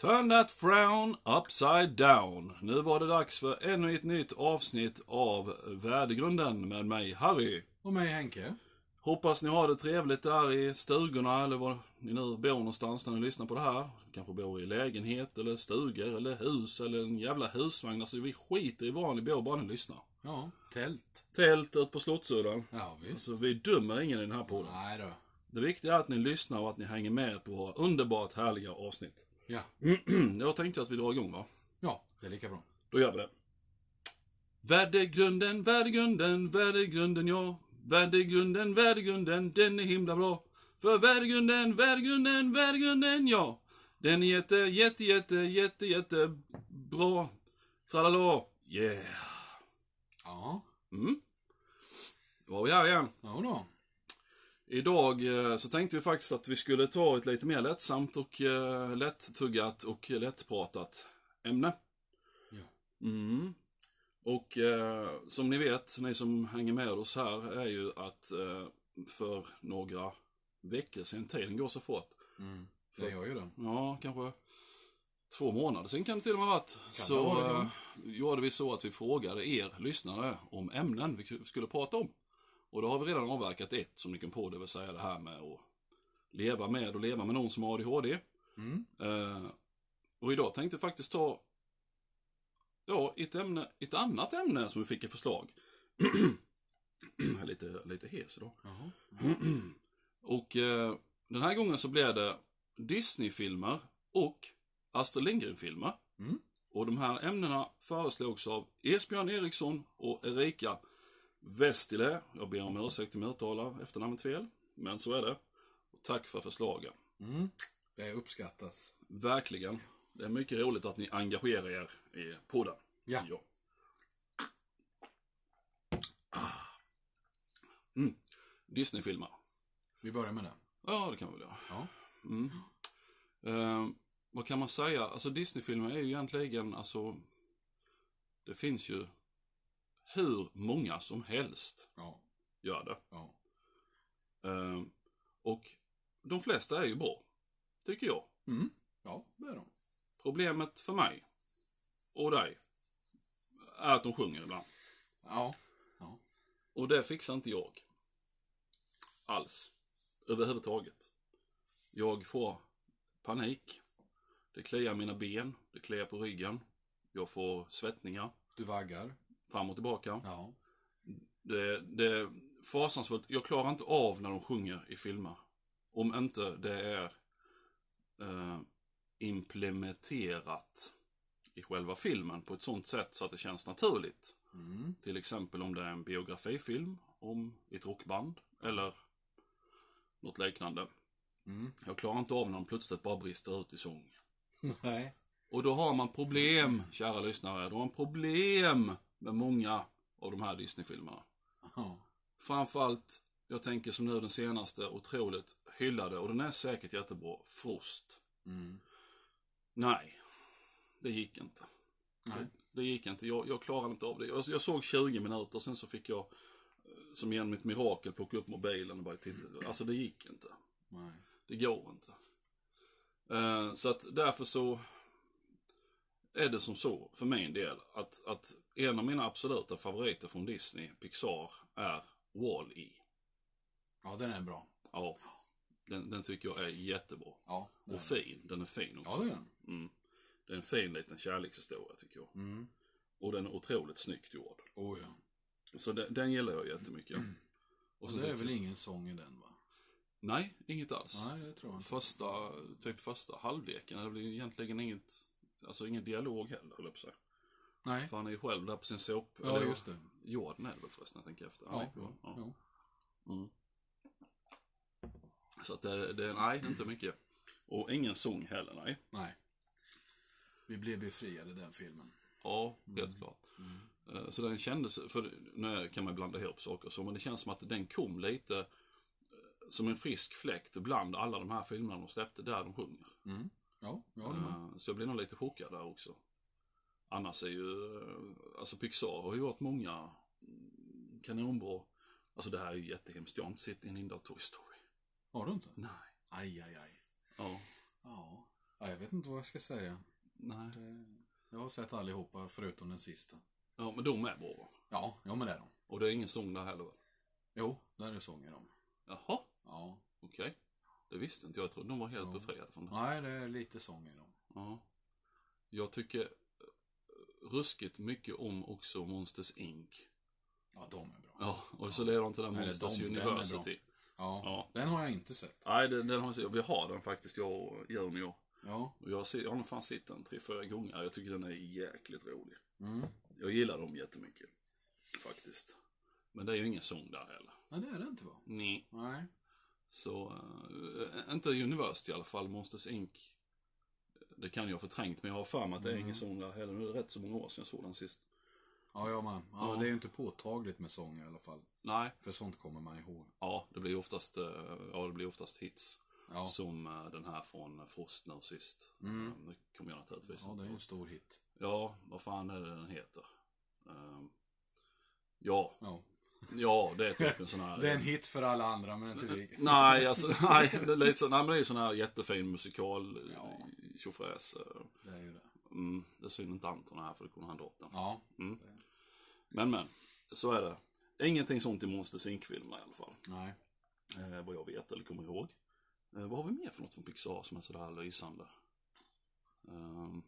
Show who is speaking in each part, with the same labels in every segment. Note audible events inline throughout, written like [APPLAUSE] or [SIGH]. Speaker 1: Turn that frown upside down. Nu var det dags för ännu ett nytt avsnitt av Värdegrunden med mig Harry.
Speaker 2: Och mig Henke.
Speaker 1: Hoppas ni har det trevligt där i stugorna eller var ni nu bor någonstans när ni lyssnar på det här. Kanske bor i lägenhet eller stugor eller hus eller en jävla husvagn. Alltså vi skiter i var ni bor bara ni lyssnar.
Speaker 2: Ja, tält.
Speaker 1: Tält ut på Slottsudden.
Speaker 2: Ja, visst.
Speaker 1: Alltså vi dömer ingen i den här podden.
Speaker 2: Nej då.
Speaker 1: Det viktiga är att ni lyssnar och att ni hänger med på våra underbart härliga avsnitt. [CLEARS THROAT]
Speaker 2: Ja.
Speaker 1: Jag tänkte att vi drar igång va?
Speaker 2: ja, det är lika bra.
Speaker 1: Då gör vi det. Värdegrunden, värdegrunden, värdegrunden ja. Värdegrunden, värdegrunden, den är himla bra. För värdegrunden, värdegrunden, värdegrunden ja. Den är jätte, jätte, jätte, jätte, jätte bra. Tralala. Yeah.
Speaker 2: Ja,
Speaker 1: Mm. Då var vi här igen.
Speaker 2: ja då.
Speaker 1: Idag eh, så tänkte vi faktiskt att vi skulle ta ett lite mer lättsamt och eh, lättuggat och lättpratat ämne.
Speaker 2: Ja.
Speaker 1: Mm. Och eh, som ni vet, ni som hänger med oss här, är ju att eh, för några veckor sedan, tiden går så fort.
Speaker 2: Mm. Det gör ju det.
Speaker 1: Ja, kanske två månader sedan kan det till och med ha varit.
Speaker 2: Kan det
Speaker 1: så
Speaker 2: vara det,
Speaker 1: eh,
Speaker 2: ja.
Speaker 1: gjorde vi så att vi frågade er lyssnare om ämnen vi skulle prata om. Och då har vi redan avverkat ett som ni kan på, det vill säga det här med att leva med och leva med någon som har ADHD.
Speaker 2: Mm.
Speaker 1: Eh, och idag tänkte jag faktiskt ta ja, ett, ämne, ett annat ämne som vi fick i förslag. [CLEARS THROAT] Jag är lite, lite hes idag.
Speaker 2: Jaha.
Speaker 1: [CLEARS THROAT] och eh, den här gången så blev det Disney-filmer och Astrid Lindgren-filmer.
Speaker 2: Mm.
Speaker 1: Och de här ämnena föreslogs av Esbjörn Eriksson och Erika Westile. Jag ber om ursäkt om jag uttalar efternamnet fel, men så är det. Och tack för förslagen.
Speaker 2: Mm. Det uppskattas.
Speaker 1: Verkligen. Det är mycket roligt att ni engagerar er i podden.
Speaker 2: Ja.
Speaker 1: ja. Ah. Mm. Disney-filmer.
Speaker 2: Vi börjar med det.
Speaker 1: Ja, det kan vi väl göra.
Speaker 2: Ja.
Speaker 1: Mm. Eh, vad kan man säga? Alltså Disney-filmer är ju egentligen, alltså, det finns ju hur många som helst
Speaker 2: Ja.
Speaker 1: gör det.
Speaker 2: Ja.
Speaker 1: Eh, och de flesta är ju bra, tycker jag.
Speaker 2: Mm. Ja, det är de.
Speaker 1: Problemet för mig och dig är att de sjunger ibland.
Speaker 2: Ja.
Speaker 1: Och det fixar inte jag. Alls. Överhuvudtaget. Jag får panik. Det kliar mina ben, det kliar på ryggen. Jag får svettningar
Speaker 2: Du vaggar.
Speaker 1: fram och tillbaka.
Speaker 2: Ja.
Speaker 1: Det, det är fasansfullt. Jag klarar inte av när de sjunger i filmer. Om inte det är eh, implementerat i själva filmen på ett sånt sätt så att det känns naturligt.
Speaker 2: Mm. [LAUGHS]
Speaker 1: Till exempel om det är en biografifilm om ett rockband eller något liknande.
Speaker 2: Mm.
Speaker 1: Jag klarar inte av när de plötsligt bara brister ut i sång.
Speaker 2: Nej.
Speaker 1: Och då har man problem, kära lyssnare. Då har man problem med många av de här Disney-filmerna.
Speaker 2: Ja.
Speaker 1: Framförallt, jag tänker som nu den senaste, otroligt hyllade, och den är säkert jättebra, Frost.
Speaker 2: Mm.
Speaker 1: Nej, det gick inte.
Speaker 2: Nej.
Speaker 1: Det gick inte, jag, jag klarade inte av det. Jag, jag såg 20 minuter, sen så fick jag, eh, som genom ett mirakel, plocka upp mobilen och bara titta. Alltså det gick inte.
Speaker 2: Nej.
Speaker 1: Det går inte. Eh, så att därför så är det som så, för min del, att, att en av mina absoluta favoriter från Disney, Pixar, är Wall-E.
Speaker 2: Ja, den är bra.
Speaker 1: Ja, den, den tycker jag är jättebra.
Speaker 2: Ja. det
Speaker 1: Och
Speaker 2: är den.
Speaker 1: fin, den är fin också.
Speaker 2: Mm. Ja, det är den.
Speaker 1: Mm. Det är en fin liten kärlekshistoria tycker jag.
Speaker 2: Mm.
Speaker 1: Och den är otroligt snyggt gjord.
Speaker 2: Oh, ja.
Speaker 1: Så den, den gillar jag
Speaker 2: [CLEARS THROAT]
Speaker 1: jättemycket.
Speaker 2: Och
Speaker 1: så
Speaker 2: det är
Speaker 1: tycker
Speaker 2: väl
Speaker 1: jag-
Speaker 2: ingen sång i den va?
Speaker 1: Nej, inget alls.
Speaker 2: Nej, det tror jag inte.
Speaker 1: Första, typ första halvleken, det blir ju egentligen inget, alltså ingen dialog heller höll jag på att säga.
Speaker 2: Nej.
Speaker 1: För han är ju själv där på sin sop.
Speaker 2: Ja, just det.
Speaker 1: Jorden är det väl förresten, jag tänker efter. Han
Speaker 2: Ja.
Speaker 1: är på- ja.
Speaker 2: Jo.
Speaker 1: Så att det, det, nej, det är inte mycket. Och ingen sång heller, nej.
Speaker 2: Nej. Vi blev befriade i den filmen.
Speaker 1: Ja, helt klart. Eh, Så den kändes, för nu kan man blanda ihop saker och så, men det känns som att den kom lite eh, som en frisk fläkt bland alla de här filmerna de släppte där de sjunger.
Speaker 2: Ja, jag håller med.
Speaker 1: Eh, Så jag blev nog lite chockad där också. Annars är ju, eh, alltså Pixar har ju gjort många mm, kanonbra, alltså det här är ju jättehemskt, jag har inte sett en enda Toy Story. [LAUGHS]
Speaker 2: Har du inte?
Speaker 1: Nej.
Speaker 2: Aj, aj, aj.
Speaker 1: Ja.
Speaker 2: Ja. ja jag jag vet inte vad jag ska säga.
Speaker 1: Nej.
Speaker 2: Jag har sett allihopa förutom den sista.
Speaker 1: Ja, men de är bra.
Speaker 2: Ja, ja men det är de.
Speaker 1: Och det är ingen sång där heller väl?
Speaker 2: Jo, där är sånger de.
Speaker 1: Jaha,
Speaker 2: Ja.
Speaker 1: okej. Det visste inte jag. Jag trodde de var helt
Speaker 2: Ja.
Speaker 1: befriade från det.
Speaker 2: Nej, det är lite sånger de.
Speaker 1: Ja. Jag tycker eh, ruskigt mycket om också Monsters Inc.
Speaker 2: Ja, de är bra.
Speaker 1: Ja, och så lever inte där
Speaker 2: Nej, det är
Speaker 1: Monsters
Speaker 2: de- den är bra.
Speaker 1: University.
Speaker 2: Ja.
Speaker 1: Ja.
Speaker 2: Den har jag inte sett.
Speaker 1: Nej, den, den har, vi har den faktiskt, jag och Junior.
Speaker 2: Ja.
Speaker 1: Och jag, ser, jag har nog fan sett den tre, fyra gånger. Jag tycker den är jäkligt rolig.
Speaker 2: Mm.
Speaker 1: Jag gillar dem jättemycket. Faktiskt. Men det är ju ingen sång där heller.
Speaker 2: Nej, det är det inte va?
Speaker 1: Nej.
Speaker 2: Nej.
Speaker 1: Så, eh, inte University i alla fall, Monsters Inc. Det kan jag ha förträngt, men jag har för mig att det är ingen sång där heller. Nu är det rätt så många år sedan jag såg den sist.
Speaker 2: Ja, jag man. Ja,
Speaker 1: Ja.
Speaker 2: Det är ju inte påtagligt med sånger i alla fall.
Speaker 1: Nej,
Speaker 2: För sånt kommer man ihåg.
Speaker 1: ja, det blir oftast, eh, ja, det blir oftast hits.
Speaker 2: Ja,
Speaker 1: Som eh, den här från Frost nu sist.
Speaker 2: Mm.
Speaker 1: Eh, Nu kommer jag naturligtvis
Speaker 2: ja
Speaker 1: inte
Speaker 2: det är ju
Speaker 1: ihåg.
Speaker 2: en stor hit.
Speaker 1: Ja, vad fan är det den heter? Ehm, ja,
Speaker 2: Ja.
Speaker 1: ja, det är typ en sån här...
Speaker 2: [LAUGHS] Det är en hit för alla andra, men inte vi.
Speaker 1: Nej, alltså, [LAUGHS] nej, det är lite så, nej, men det är ju sån här jättefin musikal
Speaker 2: Ja.
Speaker 1: tjofräs. eh,
Speaker 2: Det är ju det.
Speaker 1: Mm, det är synd inte Anton är här för då kunde han dra åt den.
Speaker 2: Ja.
Speaker 1: Men men, så är det. Ingenting sånt i Monsters Inc-filmerna i alla fall.
Speaker 2: Nej.
Speaker 1: Eh, vad jag vet eller kommer ihåg. Eh, vad har vi mer för något från Pixar som är sådär lysande? Ehm,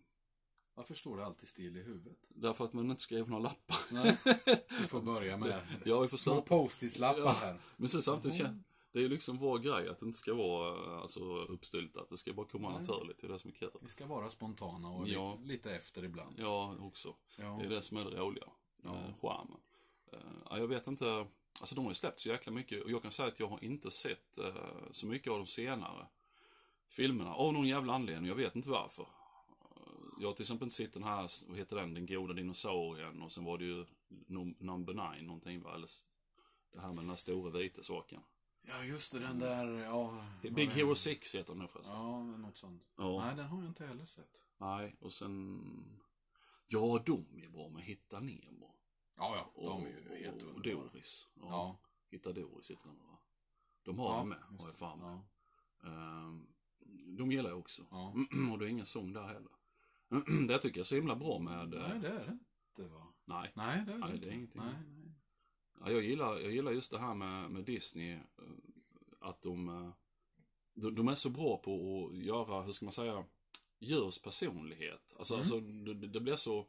Speaker 2: Varför står det alltid still i huvudet?
Speaker 1: därför att man inte skrev några lappar. [LAUGHS]
Speaker 2: Nej. [LAUGHS] Vi får börja med det.
Speaker 1: ja, vi får
Speaker 2: Små
Speaker 1: sluta.
Speaker 2: post-it-lappar här.
Speaker 1: Men sen samtidigt känner det är ju liksom vår grej att det inte ska vara eh, alltså, uppstyltat. Det ska bara komma
Speaker 2: Nej.
Speaker 1: naturligt. Det är det som är kul.
Speaker 2: Vi ska vara spontana och
Speaker 1: Ja.
Speaker 2: lite, lite efter ibland.
Speaker 1: Ja, också.
Speaker 2: Ja.
Speaker 1: Det är det som är det roliga. Eh, charmen. Eh, ja, jag vet inte. Alltså de har ju släppt så jäkla mycket och jag kan säga att jag har inte sett eh, så mycket av de senare filmerna. Av någon jävla anledning, jag vet inte varför. Eh, Jag har till exempel inte sett den här, vad heter den, Den goda dinosaurien och sen var det ju num- Number Nine någonting va, eller s- det här med den här stora vita saken.
Speaker 2: ja, just det. Den där... Ja,
Speaker 1: Big
Speaker 2: vad-
Speaker 1: Hero 6 heter den nu förresten.
Speaker 2: Ja, något sånt.
Speaker 1: Ja.
Speaker 2: Nej, den har jag inte heller sett.
Speaker 1: Nej, och sen... Ja, de är bra med Hitta Nemo.
Speaker 2: Ja, ja.
Speaker 1: Och,
Speaker 2: De är ju helt
Speaker 1: och, och
Speaker 2: underbara.
Speaker 1: Doris.
Speaker 2: Ja.
Speaker 1: Hitta Doris heter den va? De har den med, har jag
Speaker 2: just
Speaker 1: för
Speaker 2: det.
Speaker 1: mig.
Speaker 2: Ja.
Speaker 1: Ehm, De gillar jag också.
Speaker 2: Ja.
Speaker 1: [CLEARS THROAT] Och det är ingen sång där heller. [CLEARS THROAT] det tycker jag är så himla bra med... eh,
Speaker 2: Nej, det är det inte va?
Speaker 1: Nej.
Speaker 2: Nej, det är det
Speaker 1: Nej,
Speaker 2: inte.
Speaker 1: det är ingenting.
Speaker 2: Nej, nej.
Speaker 1: Ja, jag, gillar, jag gillar just det här med, med Disney. eh, Att de, eh, de... De är så bra på att göra, hur ska man säga, djurs personlighet. Alltså,
Speaker 2: Mm.
Speaker 1: alltså det, det blir så...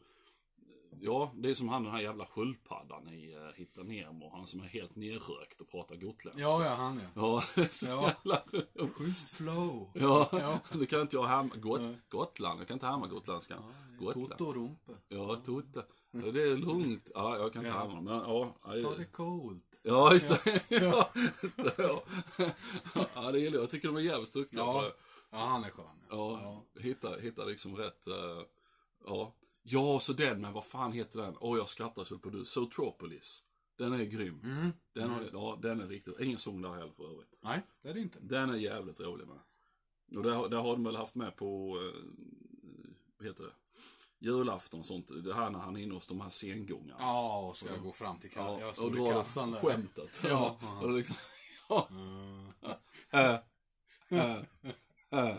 Speaker 1: Ja, det är som han den här jävla sköldpaddan i eh, Hitta Nemo. Han som är helt nerrökt och pratar gotländska.
Speaker 2: Ja,
Speaker 1: [LAUGHS]
Speaker 2: ja, han ja.
Speaker 1: Ja, så
Speaker 2: Ja.
Speaker 1: jävla...
Speaker 2: Schysst flow.
Speaker 1: Ja, [LAUGHS]
Speaker 2: Ja.
Speaker 1: det kan inte jag härma. Got,
Speaker 2: Nej.
Speaker 1: Gotland, jag kan inte härma gotländskan. Gotland.
Speaker 2: Toto Rumpe.
Speaker 1: Ja, Totte. Ja, Det är lugnt. Ja, jag kan inte
Speaker 2: Ja.
Speaker 1: härma men ja.
Speaker 2: Ta
Speaker 1: Ja,
Speaker 2: det coolt.
Speaker 1: ja just det. Ja. Ja. ja, det gillar jag. Jag tycker de är jävligt duktiga på det.
Speaker 2: Ja, ja han är skön. Ja.
Speaker 1: Ja, hitta, hitta liksom rätt, eh, ja. Ja, så den, men vad fan heter den? Åh, jag skrattar så på du. Zootropolis. Den är grym.
Speaker 2: Mm.
Speaker 1: Den, har, ja, den är riktigt, ingen sång där heller för övrigt.
Speaker 2: Nej, det är det inte.
Speaker 1: Den är jävligt rolig med. Och där, där har de väl haft med på, eh, vad heter det, julafton och sånt. Det här när han är inne hos de här sengångarna.
Speaker 2: Ja, och så jag går fram till kassan. Jag
Speaker 1: och
Speaker 2: står i
Speaker 1: drar
Speaker 2: kassan där.
Speaker 1: skämtet.
Speaker 2: Ja.
Speaker 1: och det är liksom,
Speaker 2: Mm.
Speaker 1: eh, eh, eh.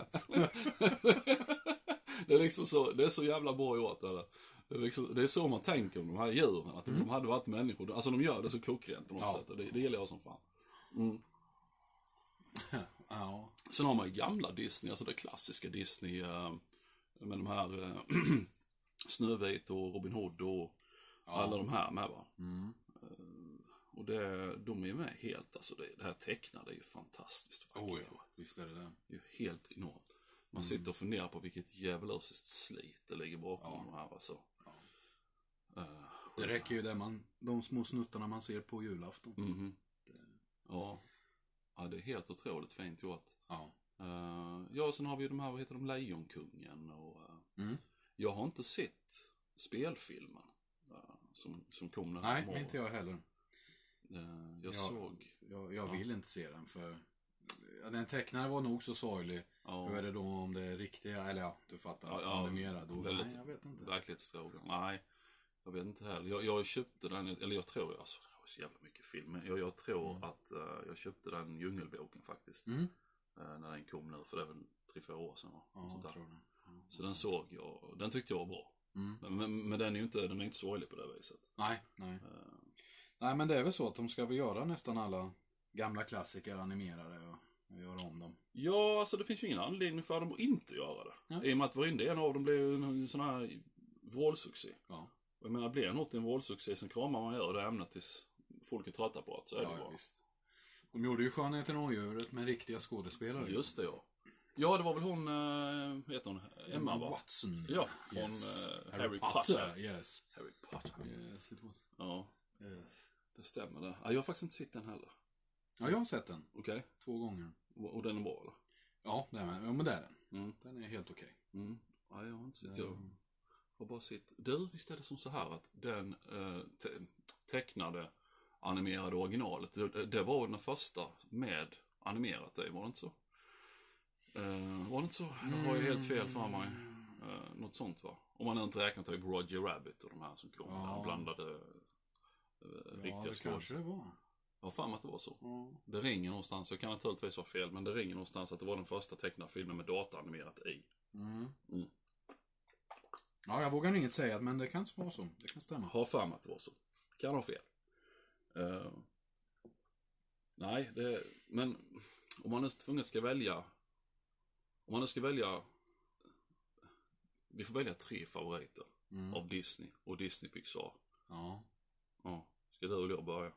Speaker 1: det är liksom så, det är så jävla bra gjort det där. Det är, liksom, det är så man tänker om de här djuren, att de hade varit människor. Alltså de gör det så klockrent på något
Speaker 2: Mm. Ja.
Speaker 1: sätt och det, det gillar jag som fan.
Speaker 2: Ja.
Speaker 1: Sen har man ju gamla Disney, alltså det klassiska Disney eh, med de här eh, [CLEARS THROAT] Snövit och Robin Hood och alla de här med va.
Speaker 2: Mm.
Speaker 1: Eh, Och det, de är ju med helt, alltså det, det här tecknade är ju fantastiskt
Speaker 2: Oh,
Speaker 1: vackert.
Speaker 2: ja. Mm. Visst är det det.
Speaker 1: Det är ju helt enormt. Man sitter och funderar på vilket djävulusiskt slit det ligger bakom
Speaker 2: Ja.
Speaker 1: de här alltså. Eh,
Speaker 2: Det räcker ju det man, de små snuttarna man ser på julafton.
Speaker 1: mhm. Ja. ja, det är helt otroligt fint gjort.
Speaker 2: Ja.
Speaker 1: Eh, ja, och sen har vi ju de här, vad heter de, Lejonkungen och... eh,
Speaker 2: Mm.
Speaker 1: Jag har inte sett spelfilmen eh, som, som kom den här
Speaker 2: Nej,
Speaker 1: morgonen.
Speaker 2: inte jag heller.
Speaker 1: Eh, jag
Speaker 2: Ja.
Speaker 1: såg...
Speaker 2: Jag, jag vill inte se den för ja, den tecknade var nog så sorglig.
Speaker 1: Ja,
Speaker 2: Hur är det då om det är riktiga, eller ja, du fattar,
Speaker 1: Ja, ja,
Speaker 2: animerad? Och,
Speaker 1: väldigt-
Speaker 2: nej, jag vet inte.
Speaker 1: verklighetsdrogen. Nej, jag vet inte heller. Jag, jag köpte den, eller jag tror, alltså det var så jävla mycket filmer. Jag, jag tror att eh, jag köpte den Djungelboken faktiskt.
Speaker 2: Mm.
Speaker 1: eh, när den kom nu, för det är väl tre, fyra år sedan va?
Speaker 2: Ja,
Speaker 1: Sånt där.
Speaker 2: jag tror det.
Speaker 1: Så den såg jag, den tyckte jag var bra.
Speaker 2: Mm.
Speaker 1: Men, men den är ju inte, den är inte sorglig på det viset.
Speaker 2: Nej, nej.
Speaker 1: Eh,
Speaker 2: Nej, men det är väl så att de ska väl göra nästan alla gamla klassiker animerade och, och göra om dem.
Speaker 1: Ja, alltså det finns ju ingen anledning för dem att inte göra det.
Speaker 2: Ja.
Speaker 1: I och med att varenda en av dem blev ju en, en sån här vrålsuccé.
Speaker 2: Ja,
Speaker 1: Och jag menar, blir något en vrålsuccé så kramar man ju det ämnet tills folk är trötta på det. Så är det
Speaker 2: ja, ja
Speaker 1: bara.
Speaker 2: visst. De gjorde ju Skönheten och odjuret med riktiga skådespelare.
Speaker 1: Just det, ja. Ja, det var väl hon, eh, vad heter hon? Emma,
Speaker 2: Emma
Speaker 1: va?
Speaker 2: Watson.
Speaker 1: Ja, från
Speaker 2: Yes.
Speaker 1: eh, Harry Potter.
Speaker 2: Yes.
Speaker 1: Harry Potter.
Speaker 2: Yes, it was.
Speaker 1: Ja,
Speaker 2: Yes.
Speaker 1: det stämmer det. Ja, jag har faktiskt inte sett den heller.
Speaker 2: Ja, jag har sett den
Speaker 1: Okej?
Speaker 2: två gånger.
Speaker 1: Och, och den är bra, eller?
Speaker 2: Ja, det är, ja men det är den.
Speaker 1: Mm.
Speaker 2: Den är helt okej.
Speaker 1: Mm. Ja, jag har inte sett. Jag
Speaker 2: Mm.
Speaker 1: har bara sett. Du, visst är det som så här att den eh, te- tecknade animerade originalet, det, det var den första med animerat det, var det inte så? Eh, var det inte så? Jag har ju helt fel för mig.
Speaker 2: Mm.
Speaker 1: Eh, något sånt va? Om man inte räknar typ Roger Rabbit och de här som kom,
Speaker 2: Ja.
Speaker 1: där han blandade eh,
Speaker 2: Ja,
Speaker 1: riktiga
Speaker 2: det kanske
Speaker 1: skådespelare.
Speaker 2: det var.
Speaker 1: Jag har för mig att det var så.
Speaker 2: Ja.
Speaker 1: Det ringer någonstans, jag kan naturligtvis ha fel, men det ringer någonstans att det var den första tecknade filmen med dataanimerat i.
Speaker 2: Mm.
Speaker 1: Mm.
Speaker 2: Ja, jag vågar inget säga, men det kan vara så. Det kan stämma.
Speaker 1: Har för mig att det var så. Kan ha fel. Eh, nej, det, men om man nu tvungen ska välja. Om man nu ska välja. Vi får välja tre favoriter
Speaker 2: Mm.
Speaker 1: av Disney och Disney Pixar.
Speaker 2: Ja.
Speaker 1: Ja, ska du eller jag börja?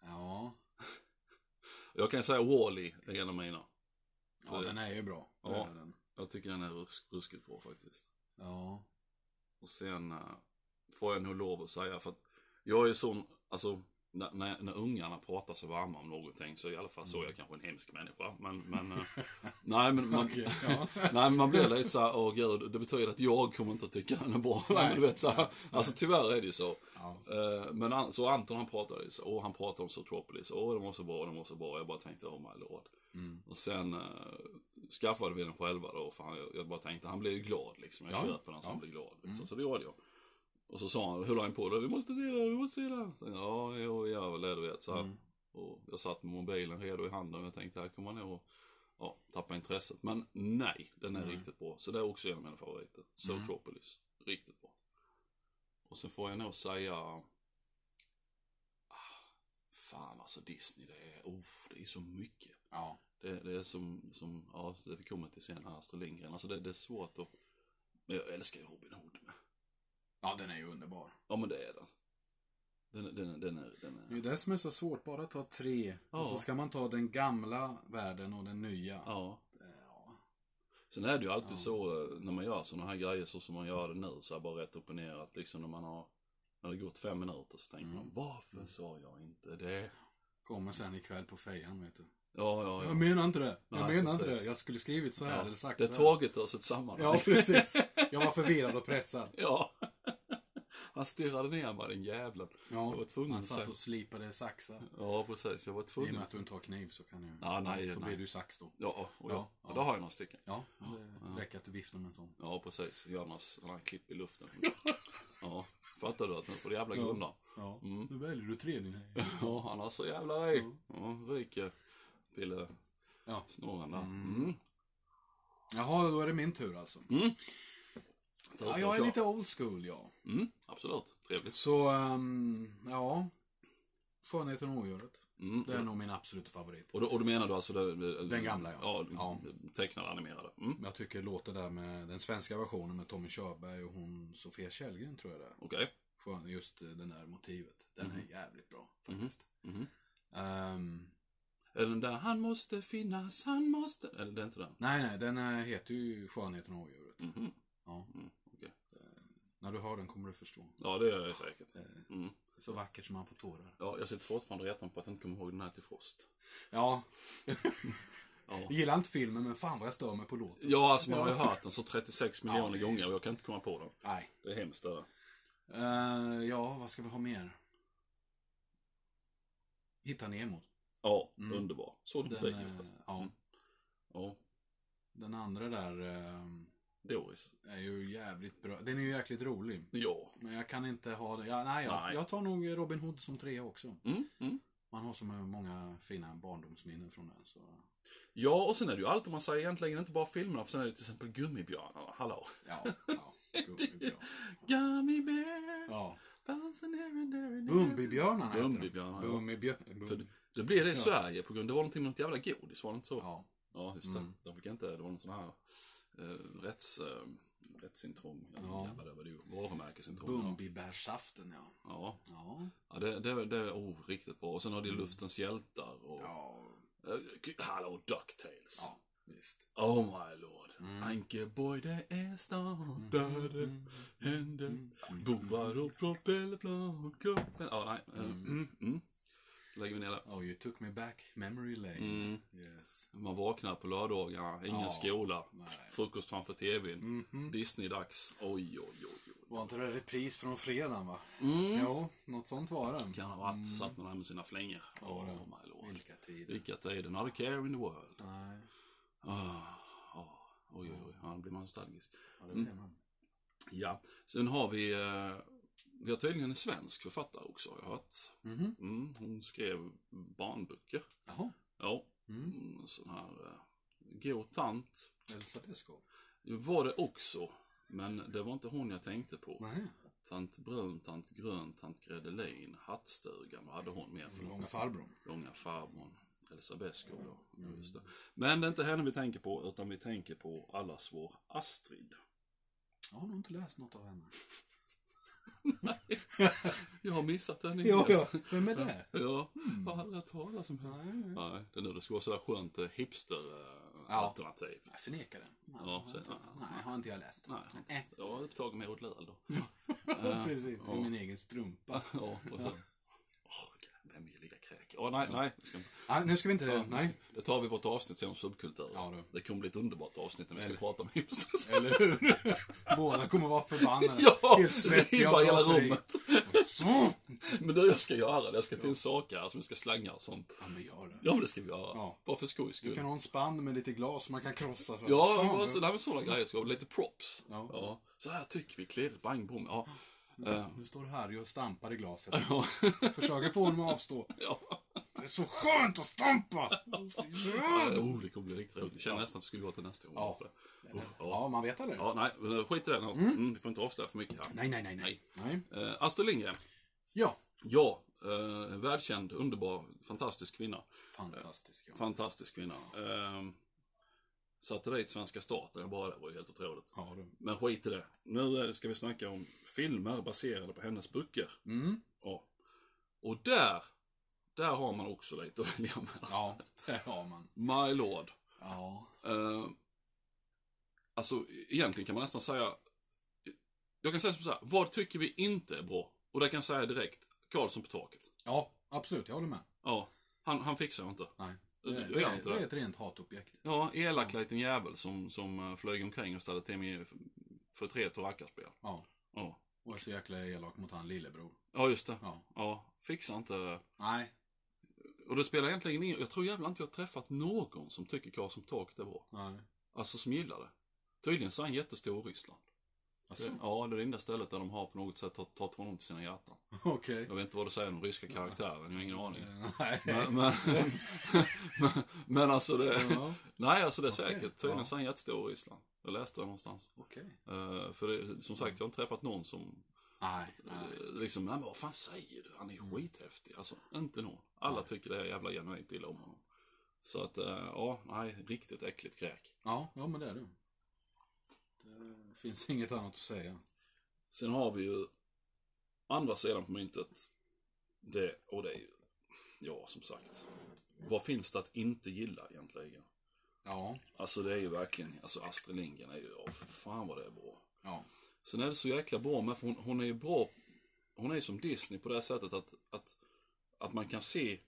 Speaker 2: Ja.
Speaker 1: Jag kan säga Wall-E är en av mina.
Speaker 2: Ja,
Speaker 1: Så-
Speaker 2: den är ju bra. Det
Speaker 1: Ja.
Speaker 2: är den.
Speaker 1: Jag tycker den är rusk, ruskigt bra faktiskt.
Speaker 2: Ja.
Speaker 1: Och sen eh, får jag nog lov att säga för att jag är sån, alltså när, när, när ungarna pratar så varma om någonting så i alla fall så är
Speaker 2: Mm.
Speaker 1: jag kanske en hemsk människa. Men, men eh,
Speaker 2: [LAUGHS]
Speaker 1: nej men man,
Speaker 2: Okej, ja.
Speaker 1: [LAUGHS] nej, men man blir lite så här, åh gud, det betyder att jag kommer inte att tycka den är bra. [LAUGHS] Nej, men du vet så här, alltså tyvärr är det ju så.
Speaker 2: ja.
Speaker 1: Eh, Men an- så Anton han pratade ju så, åh han pratade om Zootropolis, åh den var så bra, den var så bra. Jag bara tänkte, oh my lord.
Speaker 2: Mm.
Speaker 1: Och sen eh, skaffade vi den själva då, för han, jag bara tänkte, han blir ju glad liksom. Jag
Speaker 2: Ja,
Speaker 1: köper den så han
Speaker 2: ja. Mm.
Speaker 1: blir glad. Liksom. Så det gjorde jag. Och så sa han, höll han på det, vi måste dela, vi måste dela. Så, jag, ja, jo, ja, väl är det, du vet. Så
Speaker 2: Mm.
Speaker 1: här. Och jag satt med mobilen redo i handen och jag tänkte, här kommer han nog ja, tappa intresset. Men nej, den är riktigt bra. Så det är också en av mina favoriter.
Speaker 2: Mm.
Speaker 1: Zootropolis. Riktigt bra. Och sen får jag nog säga... Ah, fan alltså Disney, det är, oh, det är så mycket.
Speaker 2: Ja.
Speaker 1: Det, det är som, som, ja, så det vi kommer till sen här, Astrid Lindgren. Alltså det, det är svårt att... Men jag älskar ju Robin Hood med.
Speaker 2: ja, den är ju underbar.
Speaker 1: Ja men det är den. Den, den, den är... Den
Speaker 2: Det är
Speaker 1: är
Speaker 2: det som är så svårt, bara ta tre.
Speaker 1: Ja.
Speaker 2: Och så ska man ta den gamla världen och den nya. Eh,
Speaker 1: ja.
Speaker 2: Ja.
Speaker 1: Sen är det ju alltid
Speaker 2: Ja.
Speaker 1: så eh, när man gör sådana här grejer så som man gör det nu, så här bara rätt upp och ner, att liksom när man har... När det gått fem minuter så tänker
Speaker 2: Mm.
Speaker 1: man, varför sa jag inte det?
Speaker 2: Kommer sen ikväll på fejan, vet du.
Speaker 1: Ja, ja,
Speaker 2: Jag
Speaker 1: ja.
Speaker 2: menar inte det. Jag
Speaker 1: Nej,
Speaker 2: menar inte
Speaker 1: precis.
Speaker 2: det. Jag skulle skrivit så här
Speaker 1: Ja,
Speaker 2: eller sagt
Speaker 1: Det är
Speaker 2: så här.
Speaker 1: taget ur sitt sammanhang.
Speaker 2: Ja, precis. Jag var förvirrad och pressad.
Speaker 1: [LAUGHS] ja. Han stirrade ner mig, den jävla.
Speaker 2: Ja,
Speaker 1: Jag var tvungen
Speaker 2: han
Speaker 1: att
Speaker 2: satt
Speaker 1: säga.
Speaker 2: och slipade saxar.
Speaker 1: Ja, precis. Jag var
Speaker 2: I och
Speaker 1: tvungen.
Speaker 2: med att du inte har kniv så kan du...
Speaker 1: Ja, nej,
Speaker 2: så
Speaker 1: nej.
Speaker 2: blir du sax då.
Speaker 1: Ja, och jag,
Speaker 2: Ja,
Speaker 1: ja,
Speaker 2: ja.
Speaker 1: då har jag några stycken.
Speaker 2: Ja, det räcker att du viftar med en sån.
Speaker 1: Ja, precis. Gör några sådana här klipp i luften. [LAUGHS] Ja, fattar du att nu får det jävla
Speaker 2: Ja.
Speaker 1: grunda.
Speaker 2: Ja,
Speaker 1: Mm.
Speaker 2: nu väljer du tre din
Speaker 1: Ja, han har så jävla rej. Ja, ryker pille
Speaker 2: Ja.
Speaker 1: snorren där. Mm.
Speaker 2: Jaha, då är det min tur alltså. Ja, jag är lite old school, ja.
Speaker 1: Mm, absolut. Trevligt.
Speaker 2: Så, ehm, ja. Skönheten och odjuret.
Speaker 1: Mm.
Speaker 2: Det är nog min absoluta favorit.
Speaker 1: Och, då, och då menar du alltså den,
Speaker 2: Den gamla, ja.
Speaker 1: Ja,
Speaker 2: Ja.
Speaker 1: tecknade, animerade. Mm.
Speaker 2: Men Jag tycker låter där med den svenska versionen med Tommy Körberg och hon Sofia Källgren tror jag det är.
Speaker 1: Okej.
Speaker 2: Skön, just eh, den där motivet. Den
Speaker 1: Mm.
Speaker 2: är jävligt bra faktiskt.
Speaker 1: Mhm.
Speaker 2: Ehm,
Speaker 1: Är det den där, han måste finnas, han måste... Eller det är inte den?
Speaker 2: nej, nej, den eh, heter ju Skönheten och odjuret.
Speaker 1: Mhm.
Speaker 2: Ja. Eh,
Speaker 1: Mm, okej.
Speaker 2: När du hör den kommer du förstå. Eh,
Speaker 1: Ja, det är jag säkert. Mm.
Speaker 2: Så vackert som man får tårar.
Speaker 1: Ja, jag sitter fortfarande och retar mig på att jag inte kommer ihåg den här till Frost.
Speaker 2: Ja.
Speaker 1: [LAUGHS] Ja.
Speaker 2: Jag gillar inte filmen, men fan vad jag stör mig på låten.
Speaker 1: Ja, alltså man har ju hört den så 36 miljoner
Speaker 2: det-
Speaker 1: gånger och jag kan inte komma på den.
Speaker 2: Nej.
Speaker 1: Det är hemskt det där.
Speaker 2: Eh, ja, vad ska vi ha mer? Hitta Nemo.
Speaker 1: Ja,
Speaker 2: Mm.
Speaker 1: underbar. Såg den på
Speaker 2: Den,
Speaker 1: bio.
Speaker 2: eh,
Speaker 1: förresten.
Speaker 2: ja,
Speaker 1: Mm. Ja,
Speaker 2: den andra där ehm,
Speaker 1: Doris.
Speaker 2: är ju jävligt bra. Den är ju jäkligt rolig.
Speaker 1: Ja.
Speaker 2: Men jag kan inte ha den. Ja, nej, jag,
Speaker 1: Nej.
Speaker 2: jag tar nog Robin Hood som trea också.
Speaker 1: Mm, mm.
Speaker 2: Man har så många fina barndomsminnen från den. Så.
Speaker 1: Ja, och sen är det ju allt man säger egentligen, inte bara filmerna, för sen är det till exempel gummibjörnarna, hallå.
Speaker 2: Ja,
Speaker 1: [LAUGHS]
Speaker 2: ja. Gummibjörn.
Speaker 1: Gummy bears,
Speaker 2: Ja.
Speaker 1: bouncing here and there and there.
Speaker 2: Bumbibjörnarna heter de.
Speaker 1: Bumbibjörnar, ja.
Speaker 2: Bumbibjör- Bum-
Speaker 1: För det blev det i Sverige på grund av det var någonting med något jävla godis, var det inte så?
Speaker 2: Ja. Mm.
Speaker 1: Ja, just det. De fick inte, det var någon sån här eh, rätts, eh, rättsintrång. Ja,
Speaker 2: Ja.
Speaker 1: Jävlar, det var det ju. Varumärkesintrång. ja.
Speaker 2: Bumbibärssaften, ja.
Speaker 1: Ja,
Speaker 2: Ja.
Speaker 1: ja det, det, det är oh, riktigt bra. Och sen har de Luftens hjältar och...
Speaker 2: Mm. Ja,
Speaker 1: Eh, k- hallå, Ducktails.
Speaker 2: ja visst.
Speaker 1: Oh my lord.
Speaker 2: Mm.
Speaker 1: Ankeborg, det är stan där det
Speaker 2: Mm.
Speaker 1: händer. Bovar och propellerplan och kroppen. Ja, nej. eh, Mm. Mm. Lägger vi ner det.
Speaker 2: Oh, you took me back memory lane.
Speaker 1: Mm.
Speaker 2: Yes.
Speaker 1: Man vaknar på lördagarna, ingen
Speaker 2: Ja,
Speaker 1: skola,
Speaker 2: nej. Mm.
Speaker 1: frukost framför TVn, Disney-dags. Oj, oj, oj. oj.
Speaker 2: Mhm. Var inte det repris från fredagen, va? Jo, något sånt var det.
Speaker 1: Mm. Kan ha varit,
Speaker 2: Mm.
Speaker 1: satt man där med sina flängor. Oh, my lord.
Speaker 2: Vilka tider.
Speaker 1: Vilka tider, not a care in the world.
Speaker 2: Nej,
Speaker 1: Ah, ah. Oj, oj, oj, ja, nu blir man nostalgisk.
Speaker 2: ja, det blev man.
Speaker 1: Ja, sen har vi, eh, vi har tydligen en svensk författare också har jag hört.
Speaker 2: Mhm.
Speaker 1: Mm, hon skrev barnböcker.
Speaker 2: Jaha,
Speaker 1: Ja,
Speaker 2: Mm.
Speaker 1: mm, sån här, eh, gå tant.
Speaker 2: Elsa Beskow.
Speaker 1: Var det också, men det var inte hon jag tänkte på.
Speaker 2: Nej,
Speaker 1: Tant Brun, Tant Grön, Tant Gredelin, Hattstugan, vad hade hon mer för
Speaker 2: långa farbrorn.
Speaker 1: Långa farbrorn, Elsa Beskow då. Ja, just det. Men det är inte henne vi tänker på, utan vi tänker på allas vår
Speaker 2: [LAUGHS]
Speaker 1: Astrid.
Speaker 2: Jag har nog inte läst något av henne.
Speaker 1: Jag har missat henne
Speaker 2: Jo,
Speaker 1: helt.
Speaker 2: ja, vem är det?
Speaker 1: Ja, jag har aldrig hört talas om henne.
Speaker 2: Nej, Mm. nej.
Speaker 1: Nej, det är nu det ska vara sådär skönt eh,
Speaker 2: Ja.
Speaker 1: hipster-alternativ.
Speaker 2: Jag förnekar det. Nej,
Speaker 1: Ja,
Speaker 2: har inte,
Speaker 1: så-
Speaker 2: nej, har inte jag läst.
Speaker 1: Nej,
Speaker 2: Äh.
Speaker 1: jag var upptagen med Odlell då.
Speaker 2: [LAUGHS] Precis, det är min egen strumpa.
Speaker 1: [LAUGHS] Ja, och så... Åh, vem vill ligga kräk? Åh, nej, nej. vi Ska... inte-
Speaker 2: Ah, nu ska vi inte... nej.
Speaker 1: Det tar vi vårt avsnitt sen om subkulturer.
Speaker 2: Ja, det.
Speaker 1: det kommer bli ett underbart avsnitt när vi ska prata om hipsters.
Speaker 2: Eller hur? [LAUGHS] Båda kommer vara förbannade.
Speaker 1: [LAUGHS] Ja,
Speaker 2: Helt svettiga
Speaker 1: ribba hela
Speaker 2: blåser i. [LAUGHS]
Speaker 1: rummet.
Speaker 2: Så.
Speaker 1: Men det jag ska göra, det jag ska till en sak här som vi ska slänga och sånt.
Speaker 2: Ja, men gör det.
Speaker 1: Ja, men det ska vi göra.
Speaker 2: Ja.
Speaker 1: Bara för skojs
Speaker 2: Du
Speaker 1: skull.
Speaker 2: kan ha en spann med lite glas som man kan krossa. Så.
Speaker 1: Ja,
Speaker 2: Fan,
Speaker 1: bara
Speaker 2: du-
Speaker 1: så, nej, men sådana grejer ska vi ha. Lite props.
Speaker 2: Ja.
Speaker 1: Så här tycker vi, klirr, bang, bom. Ja.
Speaker 2: Nu står Harry och stampar i glaset.
Speaker 1: Ja.
Speaker 2: Försöker få honom att avstå.
Speaker 1: ja.
Speaker 2: Det är så skönt att stampa! Ja,
Speaker 1: Oh, det kommer bli riktigt roligt. Jag känner nästan att vi skulle vara till nästa gång.
Speaker 2: Ja.
Speaker 1: Uff, ja.
Speaker 2: Ja, man vet aldrig.
Speaker 1: ja, nej, men skit i det. Mm, vi får inte avslöja för mycket här.
Speaker 2: Nej, nej, nej, nej. nej.
Speaker 1: Eh, Astrid Lindgren.
Speaker 2: Ja.
Speaker 1: Ja, eh, välkänd, underbar, fantastisk kvinna.
Speaker 2: Fantastisk. Ja.
Speaker 1: Fantastisk kvinna. Eh, satte dit svenska staten, jag bara, det var ju helt otroligt.
Speaker 2: Ja, du.
Speaker 1: Men skit i det. Nu eh, ska vi snacka om filmer baserade på hennes böcker.
Speaker 2: Mm.
Speaker 1: Ja. Och där, där har man också lite att välja mellan.
Speaker 2: Ja, [LAUGHS] det har man.
Speaker 1: My Lord.
Speaker 2: Ja.
Speaker 1: Eh, alltså, egentligen kan man nästan säga... Jag kan säga som så här, vad tycker vi inte är bra? Och det kan jag säga direkt, Karlsson på taket.
Speaker 2: Ja, absolut. Jag håller med.
Speaker 1: Ja, han, han fixar ju inte.
Speaker 2: Nej.
Speaker 1: Du-
Speaker 2: Det,
Speaker 1: du
Speaker 2: det,
Speaker 1: gör
Speaker 2: det,
Speaker 1: inte
Speaker 2: det
Speaker 1: det.
Speaker 2: är ett rent hatobjekt.
Speaker 1: Ja, elak liten jävel som, som eh, flög omkring och ställde till med förtret och rackarspel.
Speaker 2: Ja.
Speaker 1: Ja.
Speaker 2: Och är så jäkla elak mot han lillebror.
Speaker 1: ja, just det.
Speaker 2: Ja.
Speaker 1: Ja, fixar inte...
Speaker 2: Nej.
Speaker 1: Och det spelar egentligen ingen... Jag tror jävlar inte jag har träffat någon som tycker Karlsson på taket är bra.
Speaker 2: Nej.
Speaker 1: Alltså som gillar det. Tydligen så är han jättestor i Ryssland.
Speaker 2: Alltså,
Speaker 1: Ja, det är det enda stället där de har på något sätt tagit- tagit honom till sina hjärtan.
Speaker 2: [LAUGHS] okej. Eh,
Speaker 1: Jag vet inte vad det säger om den ryska karaktären, jag har ingen aning.
Speaker 2: Nej.
Speaker 1: [LAUGHS] Men, men, men, [LAUGHS] men alltså det...
Speaker 2: [LAUGHS] Ja.
Speaker 1: Nej, alltså det är
Speaker 2: Okej,
Speaker 1: säkert. Tydligen
Speaker 2: ja.
Speaker 1: så är han jättestor i Ryssland. Jag läste det någonstans.
Speaker 2: Okej.
Speaker 1: Eh, för det, som sagt, jag har inte träffat någon som [LAUGHS]
Speaker 2: Nej. Nej. Mm.
Speaker 1: eh, liksom, nej men vad fan säger du? Han är skithäftig. Alltså, inte någon. Alla tycker det är jävla genuint illa om honom. Så att, eh, ja, nej, riktigt äckligt kräk.
Speaker 2: Ja, ja men det är det. Det finns inget annat att säga.
Speaker 1: Sen har vi ju andra sidan på myntet. Det, och det är ju, ja som sagt. Vad finns det att inte gilla egentligen?
Speaker 2: Ja.
Speaker 1: Alltså det är ju verkligen, alltså Astrid Lindgren är ju, ja för fan vad det är bra.
Speaker 2: Ja.
Speaker 1: Sen är det så jäkla bra med, för hon, hon är ju bra, hon är ju som Disney på det här sättet att, att, att man kan se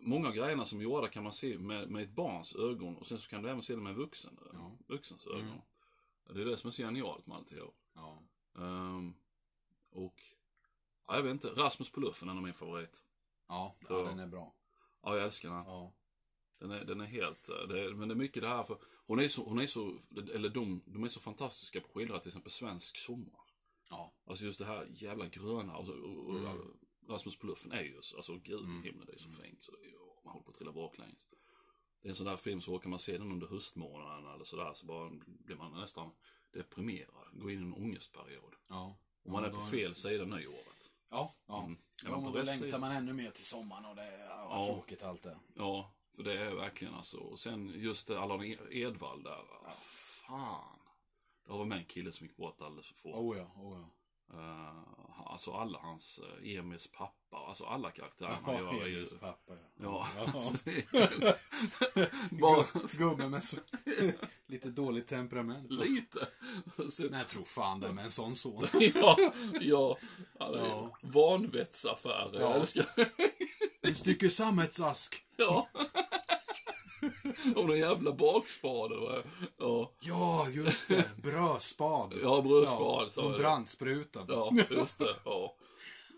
Speaker 1: Många av grejerna som är gjorda kan man se med, med ett barns ögon och sen så kan du även se det med en vuxen,
Speaker 2: Ja.
Speaker 1: vuxens ögon. Det är det som är så genialt med alltihop.
Speaker 2: Ja.
Speaker 1: Ehm, och, ja, jag vet inte, Rasmus på luffen är nog min favorit.
Speaker 2: Ja,
Speaker 1: Så.
Speaker 2: ja den är bra.
Speaker 1: Ja, jag älskar den.
Speaker 2: Ja.
Speaker 1: Den är, den är helt, eh, det är, men det är mycket det här för, hon är så, hon är så eller de, de är så fantastiska på att skildra till exempel svensk sommar.
Speaker 2: Ja.
Speaker 1: Alltså just det här jävla gröna och, så- och, och Rasmus på luffen är ju, så- alltså gud i himlen, det är så fint så det är, ju- man håller på att trilla baklänges. Det är en sån där film så orkar man se den under höstmånaderna eller sådär så bara blir man nästan deprimerad. Går in i en ångestperiod.
Speaker 2: Ja.
Speaker 1: Och man är på
Speaker 2: Ja, då-
Speaker 1: fel sida nyåret.
Speaker 2: Ja, ja.
Speaker 1: Mm. Är
Speaker 2: Ja,
Speaker 1: man
Speaker 2: men
Speaker 1: på
Speaker 2: då
Speaker 1: rätt
Speaker 2: längtar
Speaker 1: sida?
Speaker 2: man ännu mer till sommaren och det är ja, vad
Speaker 1: Ja.
Speaker 2: tråkigt allt det.
Speaker 1: Ja, för det är verkligen alltså. Och sen just det, Allan E- Edwall där. ah, Fan. Det var med en kille som gick bort alldeles för fort.
Speaker 2: Oh ja, oh ja.
Speaker 1: Eh, alltså alla hans, eh, Emils pappa, alltså alla karaktärer han
Speaker 2: Ja,
Speaker 1: gör är ju...
Speaker 2: Emils pappa ja.
Speaker 1: Ja. [LAUGHS]
Speaker 2: Ja. [LAUGHS]
Speaker 1: Bara
Speaker 2: Gu- Gubben
Speaker 1: [LAUGHS]
Speaker 2: med så, lite dåligt temperament.
Speaker 1: lite. Så,
Speaker 2: Nej, jag tror fan det med en sån son.
Speaker 1: ja, ja. Alla
Speaker 2: Ja.
Speaker 1: Vanvettsaffärer,
Speaker 2: Ja.
Speaker 1: jag älskar
Speaker 2: En stycke sammetsask.
Speaker 1: Ja. [LAUGHS] Och den jävla bakspaden. va? Ja,
Speaker 2: Ja, just det. Brödspad.
Speaker 1: ja brödspad sa
Speaker 2: och
Speaker 1: jag.
Speaker 2: brandspruta.
Speaker 1: Ja, just det. Ja.